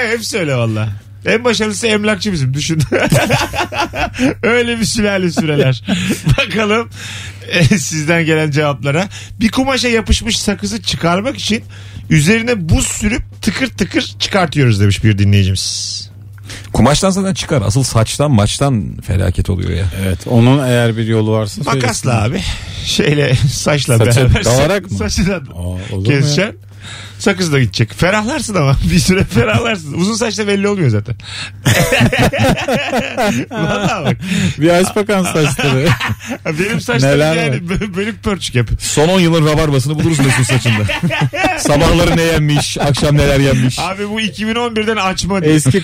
B: Hepsi öyle valla. En başarılısı emlakçı bizim düşün. <laughs> öyle bir sülale <laughs> süreler. Bakalım e, sizden gelen cevaplara. Bir kumaşa yapışmış sakızı çıkarmak için üzerine buz sürüp tıkır tıkır çıkartıyoruz demiş bir dinleyicimiz.
C: Kumaştan zaten çıkar. Asıl saçtan maçtan felaket
B: <laughs>
C: oluyor ya.
D: Evet. Onun eğer bir yolu varsa söylesin.
B: Makasla abi. Şeyle saçla
D: Saça <laughs>
B: beraber.
D: dalarak mı?
B: Saçı da
D: Aa, olur mu ya?
B: keseceksin. Sakız da gidecek. Ferahlarsın ama <laughs> bir süre ferahlarsın. Uzun saçta belli olmuyor
D: <laughs>
B: zaten. Vallahi bak.
D: <laughs> Bir Ayşbakan saçları.
B: Benim saçlarım
D: Neler
B: yani bö- bölük pörçük hep.
C: <laughs> Son 10 yılın rabarbasını buluruz Mesut saçında. Sabahları ne yenmiş, akşam neler yenmiş.
B: Abi bu 2011'den açma diye.
D: Eski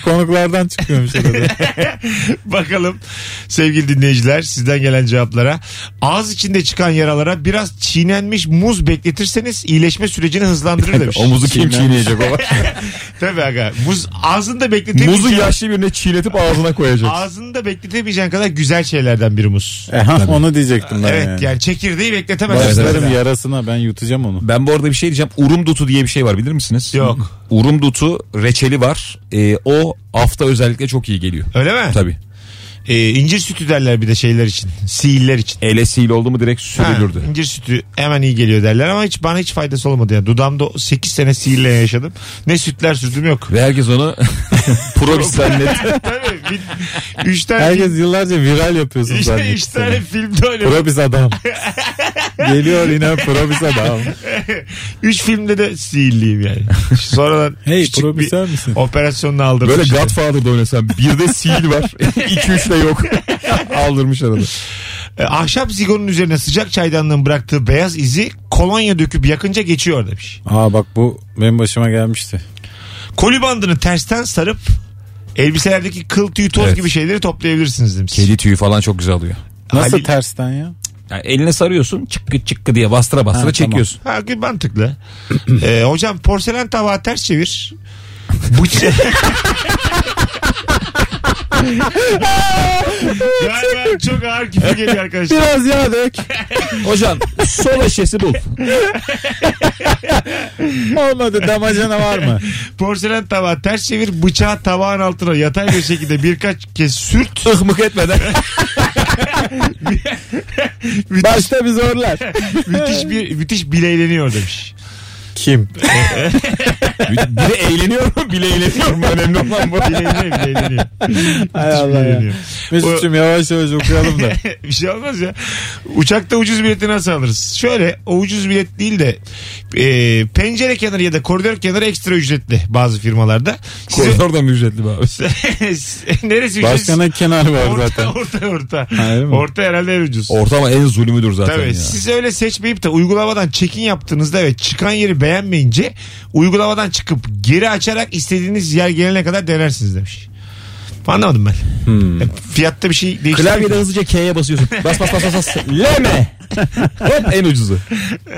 C: <laughs>
D: konuklardan çıkıyormuş arada.
B: Bakalım sevgili dinleyiciler sizden gelen cevaplara. Ağız içinde çıkan yaralara biraz çiğnenmiş muz bekletirseniz iyileşme sürecini hızlandırır demiş.
C: Omuzu kim çiğneyecek o?
B: Tabii aga. Muz ağzında şey bekletemeyeceğin,
C: Muzu yaşlı birine çiğnetip ağzına koyacak.
B: ağzında bekletemeyeceğin kadar güzel şeylerden biri muz.
D: Aha, E, onu diyecektim ben
B: Evet
D: yani.
B: yani çekirdeği bekletemezsin.
D: Başlarım
B: mesela.
D: yarasına ben yutacağım onu.
C: Ben bu arada bir şey diyeceğim. Urumdutu diye bir şey var bilir misiniz?
B: Yok.
C: Urumdutu reçeli var. Ee, o hafta özellikle çok iyi geliyor.
B: Öyle mi?
C: Tabii.
B: Ee, incir sütü derler bir de şeyler için. Sihirler için.
C: Elesiyle oldu mu direkt
B: Ha,
C: sürülürdü.
B: incir sütü hemen iyi geliyor derler ama hiç bana hiç faydası olmadı yani. Dudamda 8 sene sihirle yaşadım. Ne sütler sürdüm yok.
C: Ve herkes onu probis zannetti.
B: <laughs> Tabii. Bir, üç tane
D: <laughs> Herkes yıllarca viral yapıyorsun
B: Üç,
D: zannetti.
B: üç tane
D: seni.
B: filmde oynadım.
C: <laughs>
D: Probis adam. Geliyor yine probis adam.
B: Üç filmde de sihirliyim yani. Sonradan
D: Hey
B: küçük
D: probisör
B: bir
D: müsün?
B: operasyonla aldırdım.
C: Böyle
B: işte.
C: Godfather'da oynasan bir de sil var. iki üç de yok. Aldırmış arada.
B: E, ahşap zigonun üzerine sıcak çaydanlığın bıraktığı beyaz izi kolonya döküp yakınca geçiyor demiş.
D: Aa bak bu benim başıma gelmişti.
B: Koli bandını tersten sarıp elbiselerdeki kıl tüy toz
C: Evet.
B: gibi şeyleri toplayabilirsiniz demiş.
C: Kedi tüyü falan çok güzel oluyor.
D: Nasıl
B: Halil- <laughs>
D: tersten ya?
C: Yani eline sarıyorsun çıkkı çıkkı diye bastıra bastıra
D: Ha,
C: çekiyorsun.
B: Ha, gü- mantıklı. Ee, hocam porselen tava ters çevir. Bıçak. <laughs> Galiba çok ağır küfür geliyor arkadaşlar.
D: Biraz yağ dök.
C: <laughs> Hocam sol eşesi bul.
D: Olmadı damacana var <laughs> mı?
B: Porselen tava ters çevir bıçağı tabağın altına yatay bir şekilde birkaç kez sürt.
C: Ihmık etmeden. <laughs>
D: Başta bir zorlar.
B: Müthiş bir müthiş bileyleniyor demiş.
D: Kim?
C: Biri eğleniyor mu bile eğleniyor mu? Önemli olan bu.
B: Bileyleniyor bileyleniyor.
D: Hay
B: Müthiş
D: Allah ya.
B: bileyleniyor.
D: Mesut'cum yavaş yavaş okuyalım da.
B: <laughs> bir şey olmaz ya. Uçakta ucuz bileti nasıl alırız? Şöyle o ucuz bilet değil de e, pencere kenarı ya da koridor kenarı ekstra ücretli bazı firmalarda. Size,
C: Koridor da mı ücretli be abi?
B: <laughs> neresi ücretsiz?
D: Başkana kenar var
B: orta,
D: zaten.
B: Orta orta.
D: Hayır mi?
B: Orta herhalde en ucuz.
C: Orta ama en zulümüdür zaten
B: Tabii
C: ya.
B: siz öyle seçmeyip de uygulamadan check-in yaptığınızda ve çıkan yeri beğenmeyince uygulamadan çıkıp geri açarak istediğiniz yer gelene kadar denersiniz demiş. Anlamadım ben. Ya, Fiyatta bir şey değiştirmek
C: Klavyede hızlıca K'ye basıyorsun. Bas bas bas bas. bas. Leme. Hop en ucuzu.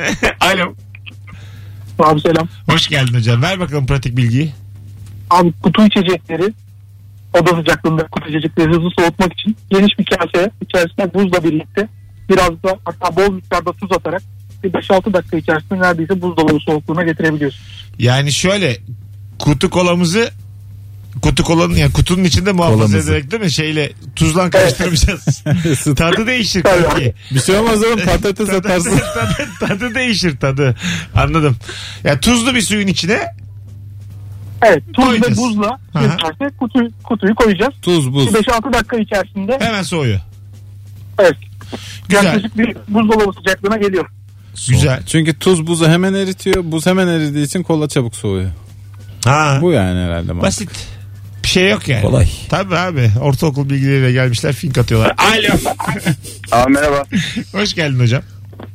B: <laughs> Alo.
H: Abi selam.
B: Hoş geldin hocam. Ver bakalım pratik bilgiyi.
H: Abi kutu içecekleri oda sıcaklığında kutu içecekleri hızlı soğutmak için geniş bir kaseye içerisine buzla birlikte biraz da hatta bol miktarda tuz atarak bir 5-6 dakika içerisinde neredeyse buzdolabı soğukluğuna getirebiliyorsun.
B: Yani şöyle kutu kolamızı kutu kolanın yani kutunun içinde muhafaza
D: Kolamızı.
B: ederek değil mi? Şeyle tuzla karıştırmayacağız. tadı değişir
H: Tabii.
B: kanki.
D: Bir şey olmaz oğlum
B: <laughs>
D: patates
B: tadı,
D: atarsın.
B: tadı, tadı değişir tadı. Anladım. Ya tuzlu bir suyun içine
H: Evet tuz
B: Koyacağız.
H: ve buzla
B: Aha.
H: birlikte kutu, kutuyu koyacağız.
D: Tuz
H: Bir
D: buz.
H: 5-6 dakika içerisinde
B: hemen soğuyor.
H: evet,
B: Güzel.
H: yaklaşık bir buzdolabı sıcaklığına geliyor.
B: Güzel.
D: Çünkü tuz buzu hemen eritiyor. Buz hemen eridiği için kola çabuk soğuyor.
B: Ha.
D: Bu yani herhalde. mantık.
B: Basit. Bir bir şey yok yani.
C: Kolay.
B: Tabii abi. Ortaokul bilgileriyle gelmişler fink atıyorlar. <laughs> Alo.
G: <laughs> Abi merhaba.
B: Hoş geldin hocam.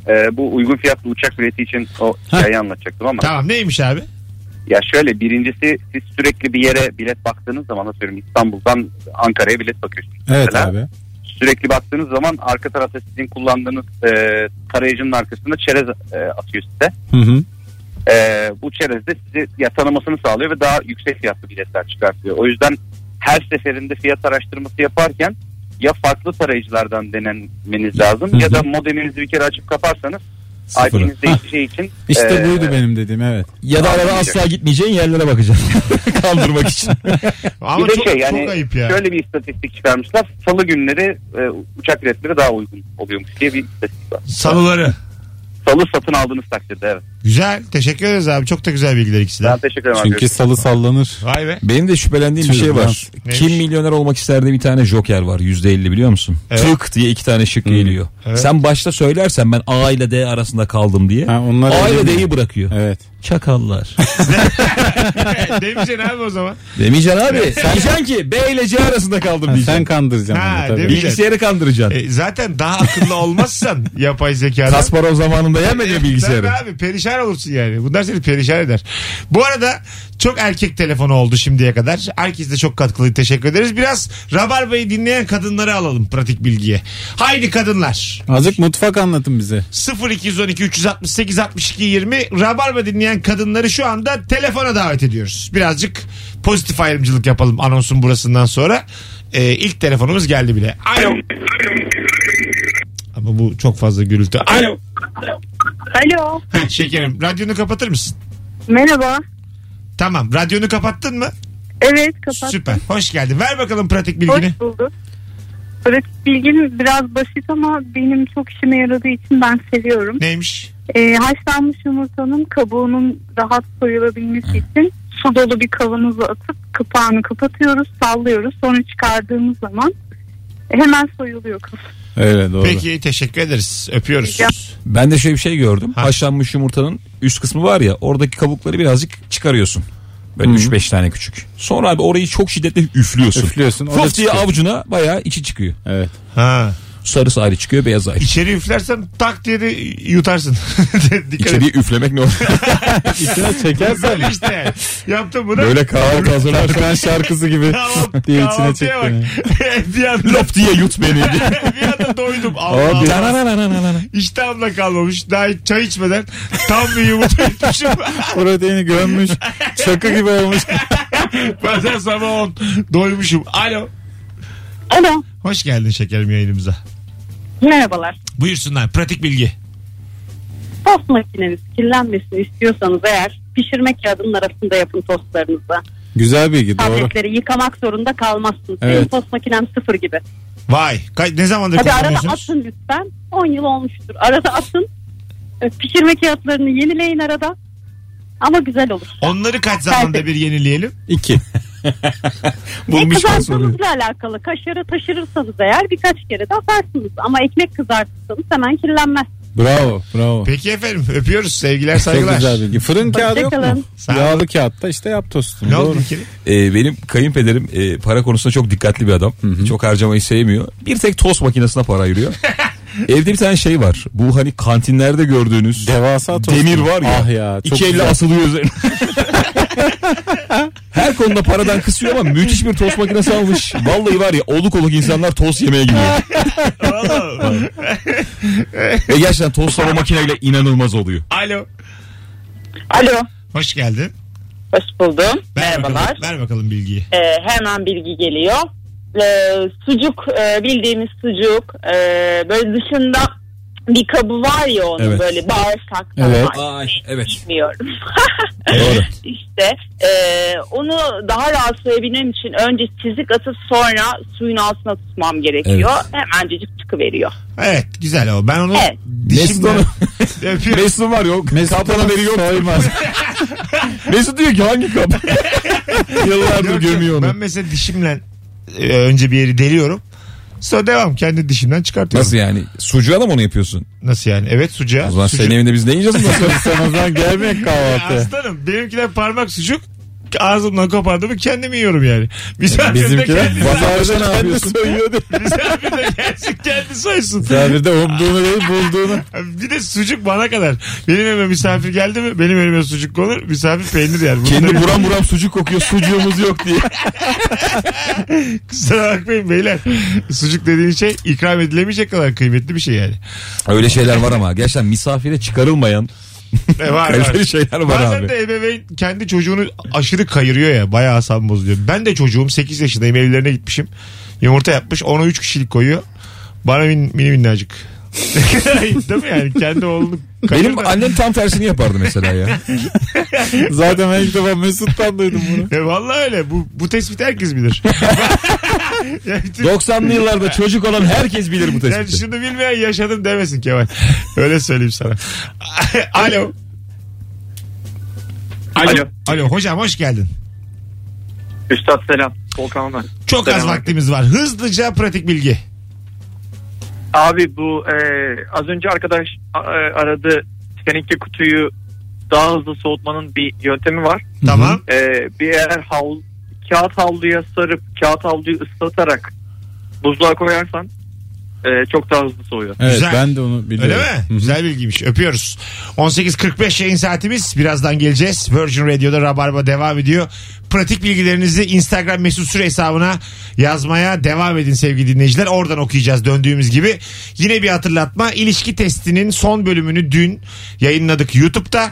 G: Ee, bu uygun fiyatlı uçak bileti için o hikayeyi anlatacaktım ama.
B: Tamam neymiş abi?
G: Ya şöyle birincisi siz sürekli bir yere bilet baktığınız zaman atıyorum İstanbul'dan Ankara'ya bilet bakıyorsunuz.
D: Evet
G: mesela.
D: abi.
G: Sürekli baktığınız zaman arka tarafta sizin kullandığınız e, tarayıcının arkasında çerez e, atıyor size.
D: Hı hı.
G: Ee, bu çerez de sizi ya, tanımasını sağlıyor ve daha yüksek fiyatlı biletler çıkartıyor. O yüzden her seferinde fiyat araştırması yaparken ya farklı tarayıcılardan denemeniz lazım ya da modeminizi bir kere açıp kaparsanız
C: Sıfırı.
G: IP'niz değişeceği için
D: İşte
B: Ee,
G: e,
D: buydu benim dediğim evet.
C: Ya da arada asla gitmeyeceğin yerlere bakacaksın. <laughs> Kaldırmak için.
B: Ama
G: bir de
B: çok,
G: şey yani
B: çok ayıp ya.
G: şöyle bir istatistik çıkarmışlar. Salı günleri e, uçak biletleri daha uygun oluyormuş diye bir istatistik var.
B: Salıları.
G: Salı satın aldığınız takdirde evet.
B: Güzel. Teşekkür ederiz abi. Çok da güzel bilgiler ikisi de.
G: Ben teşekkür ederim.
D: Çünkü salı sallanır.
B: Vay be. <laughs>
C: Benim de şüphelendiğim bir şey var.
B: Neymiş?
C: Kim milyoner olmak isterdi bir tane joker var. Yüzde elli biliyor musun?
B: Evet.
C: Tık diye iki tane şık geliyor.
B: Evet.
C: Sen başta söylersen ben A ile D arasında kaldım diye.
D: Ha, onlar
C: A
D: öyle
C: ile
D: mi?
C: D'yi bırakıyor.
D: Evet.
C: Çakallar.
B: Demeyeceksin abi o zaman.
C: Demeyeceksin abi. Sen diyeceksin ki B ile C arasında kaldım
D: Ha,
C: diyeceksin.
D: sen kandıracaksın
B: Ha,
D: onu tabii.
B: değil mi?
C: Bilgisayarı kandıracaksın.
B: E, zaten daha akıllı olmazsan yapay zekadan.
C: Kasparov zamanında yemedi mi bilgisayarı.
B: Tabii abi perişan olursun yani. Bunlar seni perişan eder. Bu arada çok erkek telefonu oldu şimdiye kadar. Herkese de çok katkılı teşekkür ederiz. Biraz Rabarba'yı dinleyen kadınları alalım pratik bilgiye. Haydi kadınlar.
D: Azıcık mutfak anlatın bize.
B: 0212 368 62 20 Rabarba dinleyen kadınları şu anda telefona davet ediyoruz. Birazcık pozitif ayrımcılık yapalım anonsun burasından sonra. Ee, ilk telefonumuz geldi bile. Alo. Ama bu çok fazla gürültü. Alo.
I: Alo.
B: Ha, Şekerim radyonu kapatır mısın?
I: Merhaba.
B: Tamam. Radyonu kapattın mı?
I: Evet kapat.
B: Süper. Hoş geldin. Ver bakalım pratik bilgini.
I: Hoş bulduk. Pratik bilgim biraz basit ama benim çok işime yaradığı için ben seviyorum.
B: Neymiş?
I: Ee, haşlanmış yumurtanın kabuğunun rahat soyulabilmesi için su dolu bir kavanoza atıp kapağını kapatıyoruz, sallıyoruz. Sonra çıkardığımız zaman hemen soyuluyor kavanoz.
D: Öyle doğru.
B: Peki teşekkür ederiz. Öpüyoruz.
I: Rica-
C: Ben de şöyle bir şey gördüm.
B: Ha.
C: Haşlanmış yumurtanın üst kısmı var ya oradaki kabukları birazcık çıkarıyorsun. Böyle 3-5 tane küçük. Sonra abi orayı çok şiddetli üflüyorsun.
D: Üflüyorsun. o da
C: Fıf diye
D: çıkıyor.
C: avucuna bayağı içi çıkıyor.
D: Evet.
B: Ha.
C: Sarısı ayrı çıkıyor beyaz ayrı.
B: İçeri üflersen tak diye de yutarsın. <laughs> Dikkat et.
C: İçeriği üflemek ne olur?
D: <laughs> İçine çekersen
B: Böyle işte. yani. Yaptım bunu.
C: Böyle kahve kazanır.
D: Tarkan şarkısı gibi
B: Kahvaltı-
D: diye içine
B: kahvaltıya
D: çektin.
B: bak. <laughs> bir anda,
C: Lop diye yut beni.
B: bir anda doydum. Allah
D: <laughs> Abi.
B: Allah. İştahımda kalmamış. Daha hiç çay içmeden tam bir yumurta <laughs> yutmuşum. <laughs>
D: Proteini gömmüş. Şaka gibi olmuş.
B: Bazen sabah 10. Doymuşum. Alo.
I: Alo.
B: Hoş geldin şekerim yayınımıza.
I: Merhabalar.
B: Buyursunlar. Pratik bilgi.
I: Tost makineniz kirlenmesini istiyorsanız eğer pişirme kağıdının arasında yapın tostlarınızı.
D: Güzel bilgi doğru.
I: Tabletleri yıkamak zorunda kalmazsınız.
D: Evet.
I: Benim tost makinem sıfır gibi.
B: Vay. Ka- ne zamandır
I: Tabii arada
B: kullanıyorsunuz?
I: atın lütfen. 10 yıl olmuştur. Arada atın. E, Pişirme kağıtlarını yenileyin arada. Ama güzel olur.
B: Onları kaç zamanda bir yenileyelim?
D: İki.
I: Bulmuş
C: Bulmuşken soruyor.
I: kızartmanızla alakalı. Kaşarı taşırırsanız eğer birkaç kere de atarsınız. Ama ekmek kızartırsanız hemen kirlenmez.
D: Bravo bravo.
B: Peki efendim öpüyoruz. Sevgiler
D: Çok
B: saygılar.
D: güzel bilgi. Fırın kağıdı yok mu?
I: Hoşçakalın.
B: Sağ ol.
D: Yağlı kağıtta işte yap tostunu.
B: Ne oldu
D: doğru.
B: İlker'im?
C: Ee, benim kayınpederim e, para konusunda çok dikkatli bir adam. Çok harcamayı sevmiyor. Bir tek tost makinesine para
D: <laughs>
C: ayırıyor. Evde bir tane şey var. Bu hani kantinlerde gördüğünüz
D: Devasa tost.
C: demir var ya.
D: Ah ya. Çok
C: iki elle
D: güzel.
C: asılıyor üzerine. <laughs> Her konuda paradan kısıyor ama müthiş bir tost makinesi almış. Vallahi var ya oluk oluk insanlar tost yemeye
D: <laughs>
C: gidiyor.
B: Oğlum.
C: Ve gerçekten tostlar o makineyle inanılmaz oluyor.
B: Alo.
J: Alo.
B: Hoş geldin.
J: Hoş buldum.
B: Ver
J: Merhabalar.
B: Bakalım, ver bakalım bilgiyi.
J: Ee, hemen bilgi geliyor. Ee, sucuk e, bildiğimiz sucuk e, böyle dışında bir kabı var ya onun
C: Evet.
J: böyle bağırsak
D: Evet.
C: Ay, evet.
J: bilmiyorum.
C: <laughs> Doğru.
J: işte e, onu daha rahat soyabilmem için önce çizik atıp sonra suyun altına tutmam gerekiyor. Hemencecik çıkıveriyor.
B: Evet güzel o. Ben onu
J: Evet.
C: Mesut onu-
B: <laughs> öpüyorum.
C: Mesut'un var yok.
D: Mesut'un
C: Kaptan haberi yok.
D: <laughs> soymaz.
C: Mesut diyor ki hangi kap?
B: <laughs>
C: Yıllardır
B: Yok,
C: gömüyor
B: yok.
C: onu.
B: Ben mesela dişimle e, önce bir yeri deliyorum. Sonra devam kendi dişimden çıkartıyorum.
C: Nasıl yani? Sucuğa da mı onu yapıyorsun?
B: Nasıl yani? Evet sucuğa.
C: O zaman
B: Sucuk.
D: <laughs>
C: senin evinde biz ne yiyeceğiz?
D: Sen o zaman gelmek
B: Ya
D: kahvaltı.
B: Aslanım benimkiler parmak sucuk ağzımdan kopardı mı kendimi yiyorum yani. Misafir de
D: Bizimkiler
B: kendi,
D: pazarda
C: ne
D: kendi
C: yapıyorsun?
D: soyuyor diye.
B: misafir de gelsin kendi soysun.
D: Misafirde umduğunu değil bulduğunu.
B: Bir de sucuk bana kadar. Benim evime misafir geldi mi benim evime sucuk konur misafir peynir yer. Bunu da
C: Kendi
B: bir-
C: buram buram sucuk kokuyor sucuğumuz yok diye.
B: Kusura bakmayın beyler. Sucuk dediğin şey ikram edilemeyecek kadar kıymetli bir şey yani.
C: Öyle şeyler var ama gerçekten misafire çıkarılmayan
B: E var, var.
C: kaliteli şeyler var
B: Bazen
C: abi.
B: de ebeveyn kendi çocuğunu aşırı kayırıyor ya. Bayağı asabım bozuluyor. Ben de çocuğum 8 yaşındayım evlerine gitmişim. Yumurta yapmış. Ona 3 kişilik koyuyor. Bana min, mini minnacık. <laughs> Değil mi yani? Kendi oğlunu kayır
C: Benim
B: da-
C: annem tam tersini yapardı mesela ya.
D: Zaten ben ilk defa Mesut'tan duydum bunu.
B: E vallahi öyle. Bu, bu tespiti herkes bilir. ya bütün-
C: 90'lı yıllarda çocuk olan herkes bilir bu
B: yani
C: tespiti.
B: şunu bilmeyen yaşadım demesin Kemal. Öyle söyleyeyim sana. <laughs> Alo.
F: Alo.
B: Alo hocam hoş geldin.
F: Üstad selam. Volkan ben.
B: Çok az
F: Selam.
B: vaktimiz var. Hızlıca pratik bilgi.
F: Abi bu e, az önce arkadaş a- e, aradı Titanic'te kutuyu daha hızlı soğutmanın bir yöntemi var.
B: Tamam.
F: E, bir eğer havlu, kağıt havluya sarıp kağıt havluyu ıslatarak buzluğa koyarsan e, çok daha hızlı soğuyor.
D: Evet
B: Güzel.
D: ben de onu
B: Öyle
D: biliyorum.
B: mi?
D: Hı hı.
B: Güzel bilgiymiş. Öpüyoruz. 18.45 yayın saatimiz. Birazdan geleceğiz. Virgin Radio'da Rabarba devam ediyor. Pratik bilgilerinizi Instagram mesut süre hesabına yazmaya devam edin sevgili dinleyiciler. Oradan okuyacağız döndüğümüz gibi. Yine bir hatırlatma. İlişki testinin son bölümünü dün yayınladık YouTube'da.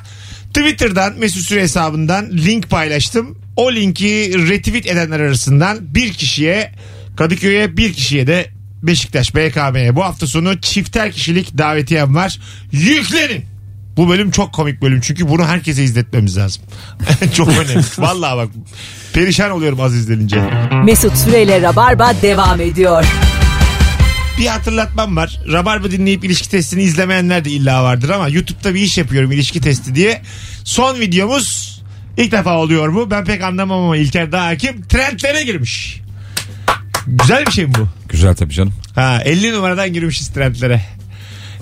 B: Twitter'dan mesut süre hesabından link paylaştım. O linki retweet edenler arasından bir kişiye Kadıköy'e bir kişiye de Beşiktaş BKM'ye bu hafta sonu çifter kişilik davetiyem var. Yüklenin. Bu bölüm çok komik bölüm çünkü bunu herkese izletmemiz lazım. <laughs> çok önemli. Vallahi bak perişan oluyorum az izlenince.
A: Mesut Süreyle Rabarba devam ediyor.
B: Bir hatırlatmam var. Rabarba dinleyip ilişki testini izlemeyenler de illa vardır ama YouTube'da bir iş yapıyorum ilişki testi diye. Son videomuz ilk defa oluyor bu. Ben pek anlamam ama İlker daha hakim. Trendlere girmiş. Güzel bir şey mi bu?
C: Güzel tabii canım.
B: Ha 50 numaradan girmişiz trendlere.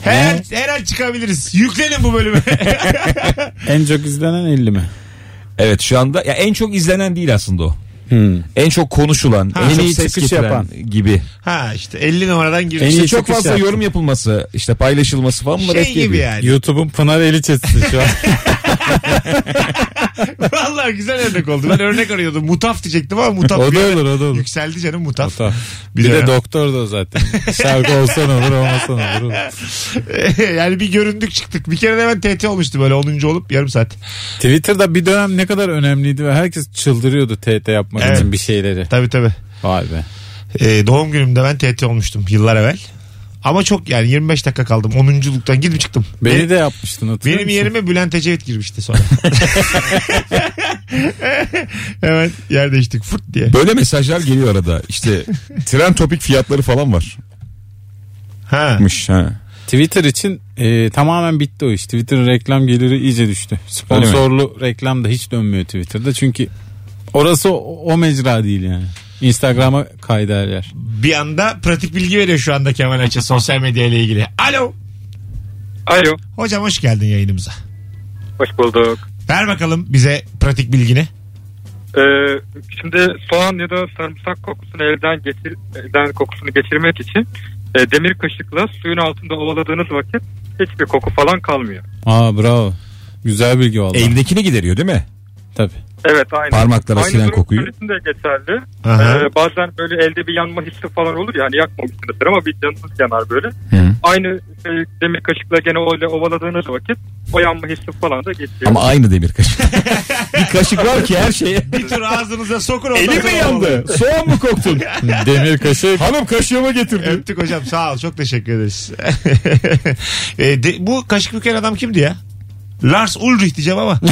B: Her, an- her an çıkabiliriz. Yüklenin bu
D: <laughs>
B: bölümü.
D: En çok izlenen 50 mi?
C: Evet şu anda ya en çok izlenen değil aslında o.
B: Hmm.
C: En çok konuşulan, en
D: En
C: çok
D: iyi
C: ses
D: çıkış
C: getiren
D: yapan.
C: gibi.
B: ha işte 50 numaradan
D: En
B: girmişiz.
D: iyi
C: İşte çok
D: çıkış
C: fazla
D: yapan.
C: yorum yapılması, işte paylaşılması falan bunlar
B: Şey
C: etki
B: gibi
C: ediyor.
B: yani.
D: YouTube'un Pınar Eliçesi şu an.
B: <laughs> Vallahi güzel örnek oldu. Ben örnek arıyordum. Mutaf diyecektim ama mutaf
D: o
B: bir
D: da
B: ara
D: olur o da olur.
B: yükseldi canım mutaf.
D: Tamam.
B: Bir
D: Bir,
B: de-
D: de doktor da o zaten. Şarkı olsan olur olmasan olur. olur.
B: <laughs> yani bir göründük çıktık. Bir kere de ben TT olmuştu böyle 10. olup yarım saat.
D: Twitter'da bir dönem ne kadar önemliydi ve herkes çıldırıyordu TT yapmak
B: Evet.
D: için bir şeyleri.
B: Tabii tabii.
D: Vay be.
B: Ee, doğum günümde ben TT olmuştum yıllar evvel. Ama çok yani 25 dakika kaldım. 10.luktan gidip çıktım.
D: Beni de yapmıştın hatırlıyor
B: Benim
D: musun?
B: yerime Bülent Ecevit girmişti sonra. <laughs> Hemen yer değiştik fırt diye.
C: Böyle mesajlar geliyor arada.
D: <laughs>
C: İşte tren topik fiyatları falan varmış.
B: Ha.
C: Ha.
D: Twitter için e, tamamen bitti o iş. Twitter'ın reklam geliri iyice düştü. Sponsorlu reklam da hiç dönmüyor Twitter'da. Çünkü orası o, o mecra değil yani. Instagram'a kayda yer.
B: Bir anda pratik bilgi veriyor şu anda Kemal Açı sosyal medya ile ilgili. Alo.
F: Alo.
B: Hocam hoş geldin yayınımıza.
F: Hoş bulduk.
B: Ver bakalım bize pratik bilgini.
F: Ee, şimdi soğan ya da sarımsak kokusunu elden getir, elden kokusunu geçirmek için e, demir kaşıkla suyun altında ovaladığınız vakit hiçbir koku falan kalmıyor.
D: Aa bravo. Güzel bilgi valla.
C: Eldekini gideriyor değil mi?
D: Tabii.
F: Evet aynı.
C: Parmaklara
F: aynı
C: silen
F: durum
C: kokuyu.
F: tuvalet için de geçerli.
B: Aha.
F: Ee, bazen böyle elde bir yanma hissi falan olur ya hani yakmamışsınızdır ama bir canınız yanar böyle.
C: Hı.
F: Aynı e, demir kaşıkla gene öyle ovaladığınız vakit o yanma hissi falan da geçiyor.
C: Ama aynı demir
D: <laughs>
C: kaşık. bir kaşık var ki her şeye.
B: Bir tur ağzınıza sokun. ondan
C: Eli mi
B: sonra
C: yandı? Soğan mı
D: <laughs>
C: koktun? <laughs>
D: Demir kaşık.
C: Hanım kaşığıma getirdi.
B: Öptük hocam sağ ol çok teşekkür ederiz. <laughs> E, de- bu kaşık büken adam kimdi ya? Lars Ulrich diyeceğim ama. <laughs>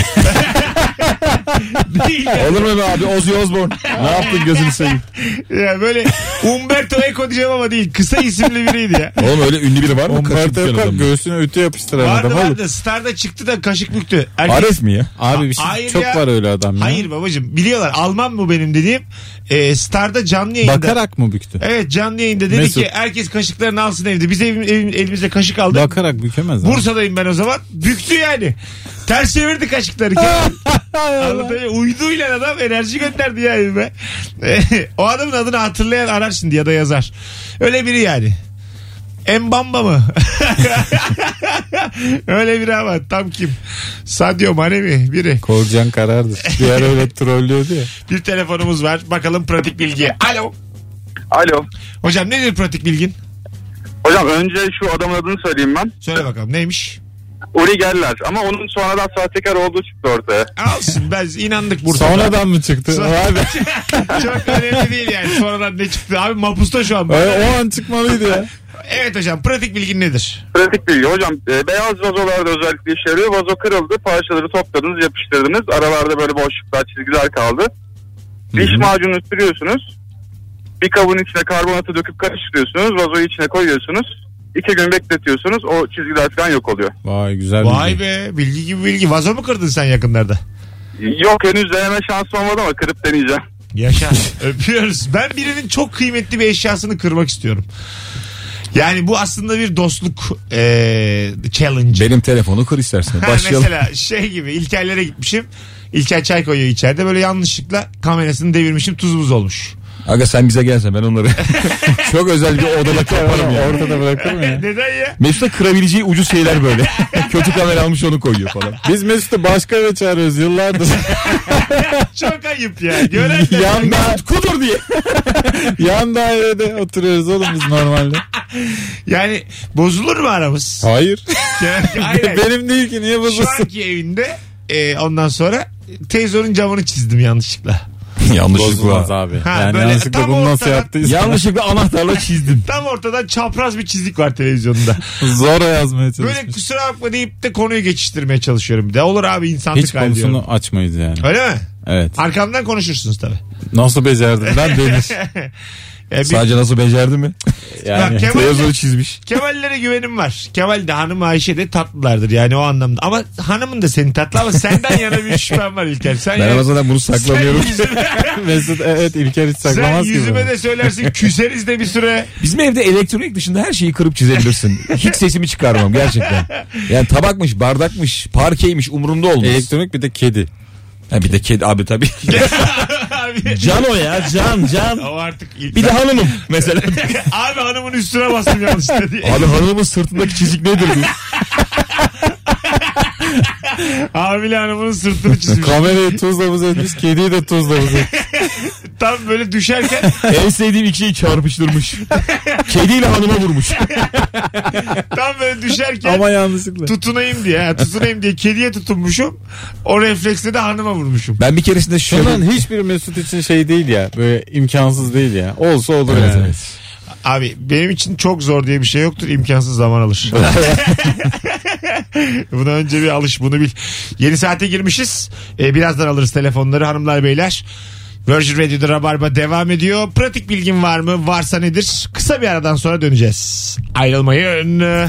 B: Değil ya.
C: Olur mu be abi? Ozzy Osbourne. ne yaptın gözünü seveyim?
B: ya. böyle Umberto Eco diyeceğim ama değil. Kısa isimli biriydi ya.
C: Oğlum öyle ünlü biri var mı? Kaşık
D: Umberto
C: diyen
D: Eco
C: adam.
D: göğsüne ütü yapıştıran
B: Vardı
D: adam. oğlum.
B: vardı. Star'da çıktı da kaşık büktü. Erkek-
C: Aref mi ya?
D: Abi bir şey
B: Hayır
D: çok
B: ya.
D: var öyle adam ya.
B: Hayır babacığım biliyorlar Alman bu benim dediğim. E, Star'da canlı yayında.
D: Bakarak mı büktü?
B: Evet canlı yayında dedi
D: Mesut.
B: ki herkes kaşıklarını alsın evde. Biz evim, evim- elimize kaşık aldık.
D: Bakarak bükemez. ama.
B: Bursa'dayım ben o zaman. Büktü yani. Ters çevirdi kaşıkları. Anlatayım. Uyduyla adam enerji gönderdi ya evime. <laughs> o adamın adını hatırlayan arar şimdi ya da yazar. Öyle biri yani. Embamba mı? <laughs> Öyle biri ama tam kim? Sadio Mane mi? Biri. <laughs>
D: Korcan karardı. Bir ara öyle trollüyordu ya.
B: Bir telefonumuz var. Bakalım pratik bilgi. Alo.
E: Alo.
B: Hocam nedir pratik bilgin?
E: Hocam önce şu adamın adını söyleyeyim ben.
B: Söyle bakalım neymiş?
E: Uri Geller ama onun sonradan sahtekar olduğu çıktı ortaya.
B: Alsın ben inandık burada.
D: Sonradan mı çıktı?
B: Sonra-
D: Vay be.
B: <laughs> Çok önemli değil yani sonradan ne çıktı. Abi mapusta şu an.
D: O, o an çıkmalıydı <laughs> ya.
B: Evet hocam pratik bilgin nedir?
E: Pratik bilgi hocam. e, beyaz vazolarda özellikle işe yarıyor. Vazo kırıldı. Parçaları topladınız, yapıştırdınız. Aralarda böyle boşluklar, çizgiler kaldı. Diş macunu sürüyorsunuz. Bir kabın içine karbonatı döküp karıştırıyorsunuz. Vazoyu içine koyuyorsunuz. İki gün bekletiyorsunuz. O çizgiler falan yok oluyor.
D: Vay güzel
B: Vay
D: bilgi.
B: be bilgi gibi bilgi. Vazo mu kırdın sen yakınlarda?
E: Yok henüz deneme şansım olmadı ama kırıp deneyeceğim.
B: Yaşa. <laughs> Öpüyoruz. Ben birinin çok kıymetli bir eşyasını kırmak istiyorum. Yani bu aslında bir dostluk eee challenge.
C: Benim telefonu kır istersen.
B: Ha,
C: Başlayalım.
B: Mesela şey gibi İlker'lere gitmişim. İlker çay koyuyor içeride. Böyle yanlışlıkla kamerasını devirmişim. Tuz buz olmuş.
C: Aga sen bize gelsen ben
D: <laughs>
C: onları çok özel bir odada kaparım ya.
D: Ortada bırakır mı ya?
B: Neden ya?
C: Mesut'a kırabileceği ucuz şeyler
D: <laughs>
C: böyle. Kötü kamera almış onu koyuyor falan.
D: Biz Mesut'u başka eve
C: <laughs>
D: çağırıyoruz yıllardır.
B: Çok ayıp ya. Gören de-
D: Yanda,
C: Kudur diye.
D: yan dairede oturuyoruz oğlum biz normalde.
B: Yani bozulur mu aramız?
D: Hayır.
B: Aynen.
D: Benim değil ki niye
B: Şu
D: bozulsun?
B: anki evinde e, ondan sonra televizyonun camını çizdim yanlışlıkla.
D: Bozulmaz
C: Yanlışlıkla.
D: abi.
B: Ha,
D: yani
B: böyle
D: yanlışlıkla
B: tam
D: bunu nasıl
B: ortadan-
D: yaptıysa.
C: Yanlışlıkla anahtarla çizdim.
B: Tam ortadan çapraz bir çizik var
C: <laughs>
B: televizyonda.
D: Zora yazmaya çalışmış.
B: Böyle kusura bakma deyip de konuyu geçiştirmeye çalışıyorum bir de. Olur abi insanlık
D: Hiç
B: hali diyorum.
D: konusunu açmayız yani.
B: Öyle mi?
D: Evet.
B: Arkamdan konuşursunuz tabii.
D: Nasıl becerdin
B: <laughs>
C: <laughs>
D: lan denir.
B: E, bir-
C: Sadece nasıl becerdi mi?
B: Bak,
D: Yani.
B: Kemal-
C: Televizyonu çizmiş.
B: Kemallere güvenim var. Kemal de hanım Ayşe de tatlılardır yani o anlamda. Ama hanımın da senin tatlı ama senden yana bir şüphem var İlker. Sen
C: Ben
B: yani-
C: ama zaten bunu saklamıyorum.
B: Sen yüzüme,
D: <laughs>
C: <laughs>
D: Mesut evet İlker hiç
B: sen
D: saklamaz ki.
B: yüzüme
D: bunu.
B: de söylersin küseriz de bir
C: <laughs>
B: süre.
C: Bizim evde elektronik dışında her şeyi kırıp çizebilirsin. Hiç sesimi çıkarmam gerçekten. Yani tabakmış, bardakmış, parkeymiş umurumda olmaz.
D: Elektronik bir de kedi.
C: Ha, bir de kedi abi tabii.
B: Abi,
C: <laughs> can o ya can can.
B: o artık İlker.
C: Bir de hanımım mesela.
B: <laughs> Abi hanımın üstüne bastım yanlışlıkla diye.
C: abi hanımın sırtındaki çizik nedir diye.
B: Hamile hanımının sırtını çizmiş.
D: Kamerayı tuzla buz etmiş, kediyi de tuzla buz etmiş.
B: Tam böyle düşerken
C: En sevdiğim ikiyi çarpıştırmış. Kediyle hanıma vurmuş.
B: tam böyle düşerken
D: Ama yanlışlıkla.
B: tutunayım diye ha, tutunayım diye kediye tutunmuşum. O refleksle de hanıma vurmuşum.
C: Ben bir keresinde şöyle...
D: Şundan hiçbir Mesut için şey değil ya. Böyle imkansız değil ya. Olsa olur
C: Evet,
D: yani.
C: evet.
B: Abi benim için çok zor diye bir şey yoktur. İmkansız zaman alır. Buna önce bir alış bunu bil. Yeni saate girmişiz. Ee, birazdan alırız telefonları hanımlar beyler. Virgin Radio'da Rabarba devam ediyor. Pratik bilgin var mı? Varsa nedir? Kısa bir aradan sonra döneceğiz. Ayrılmayın.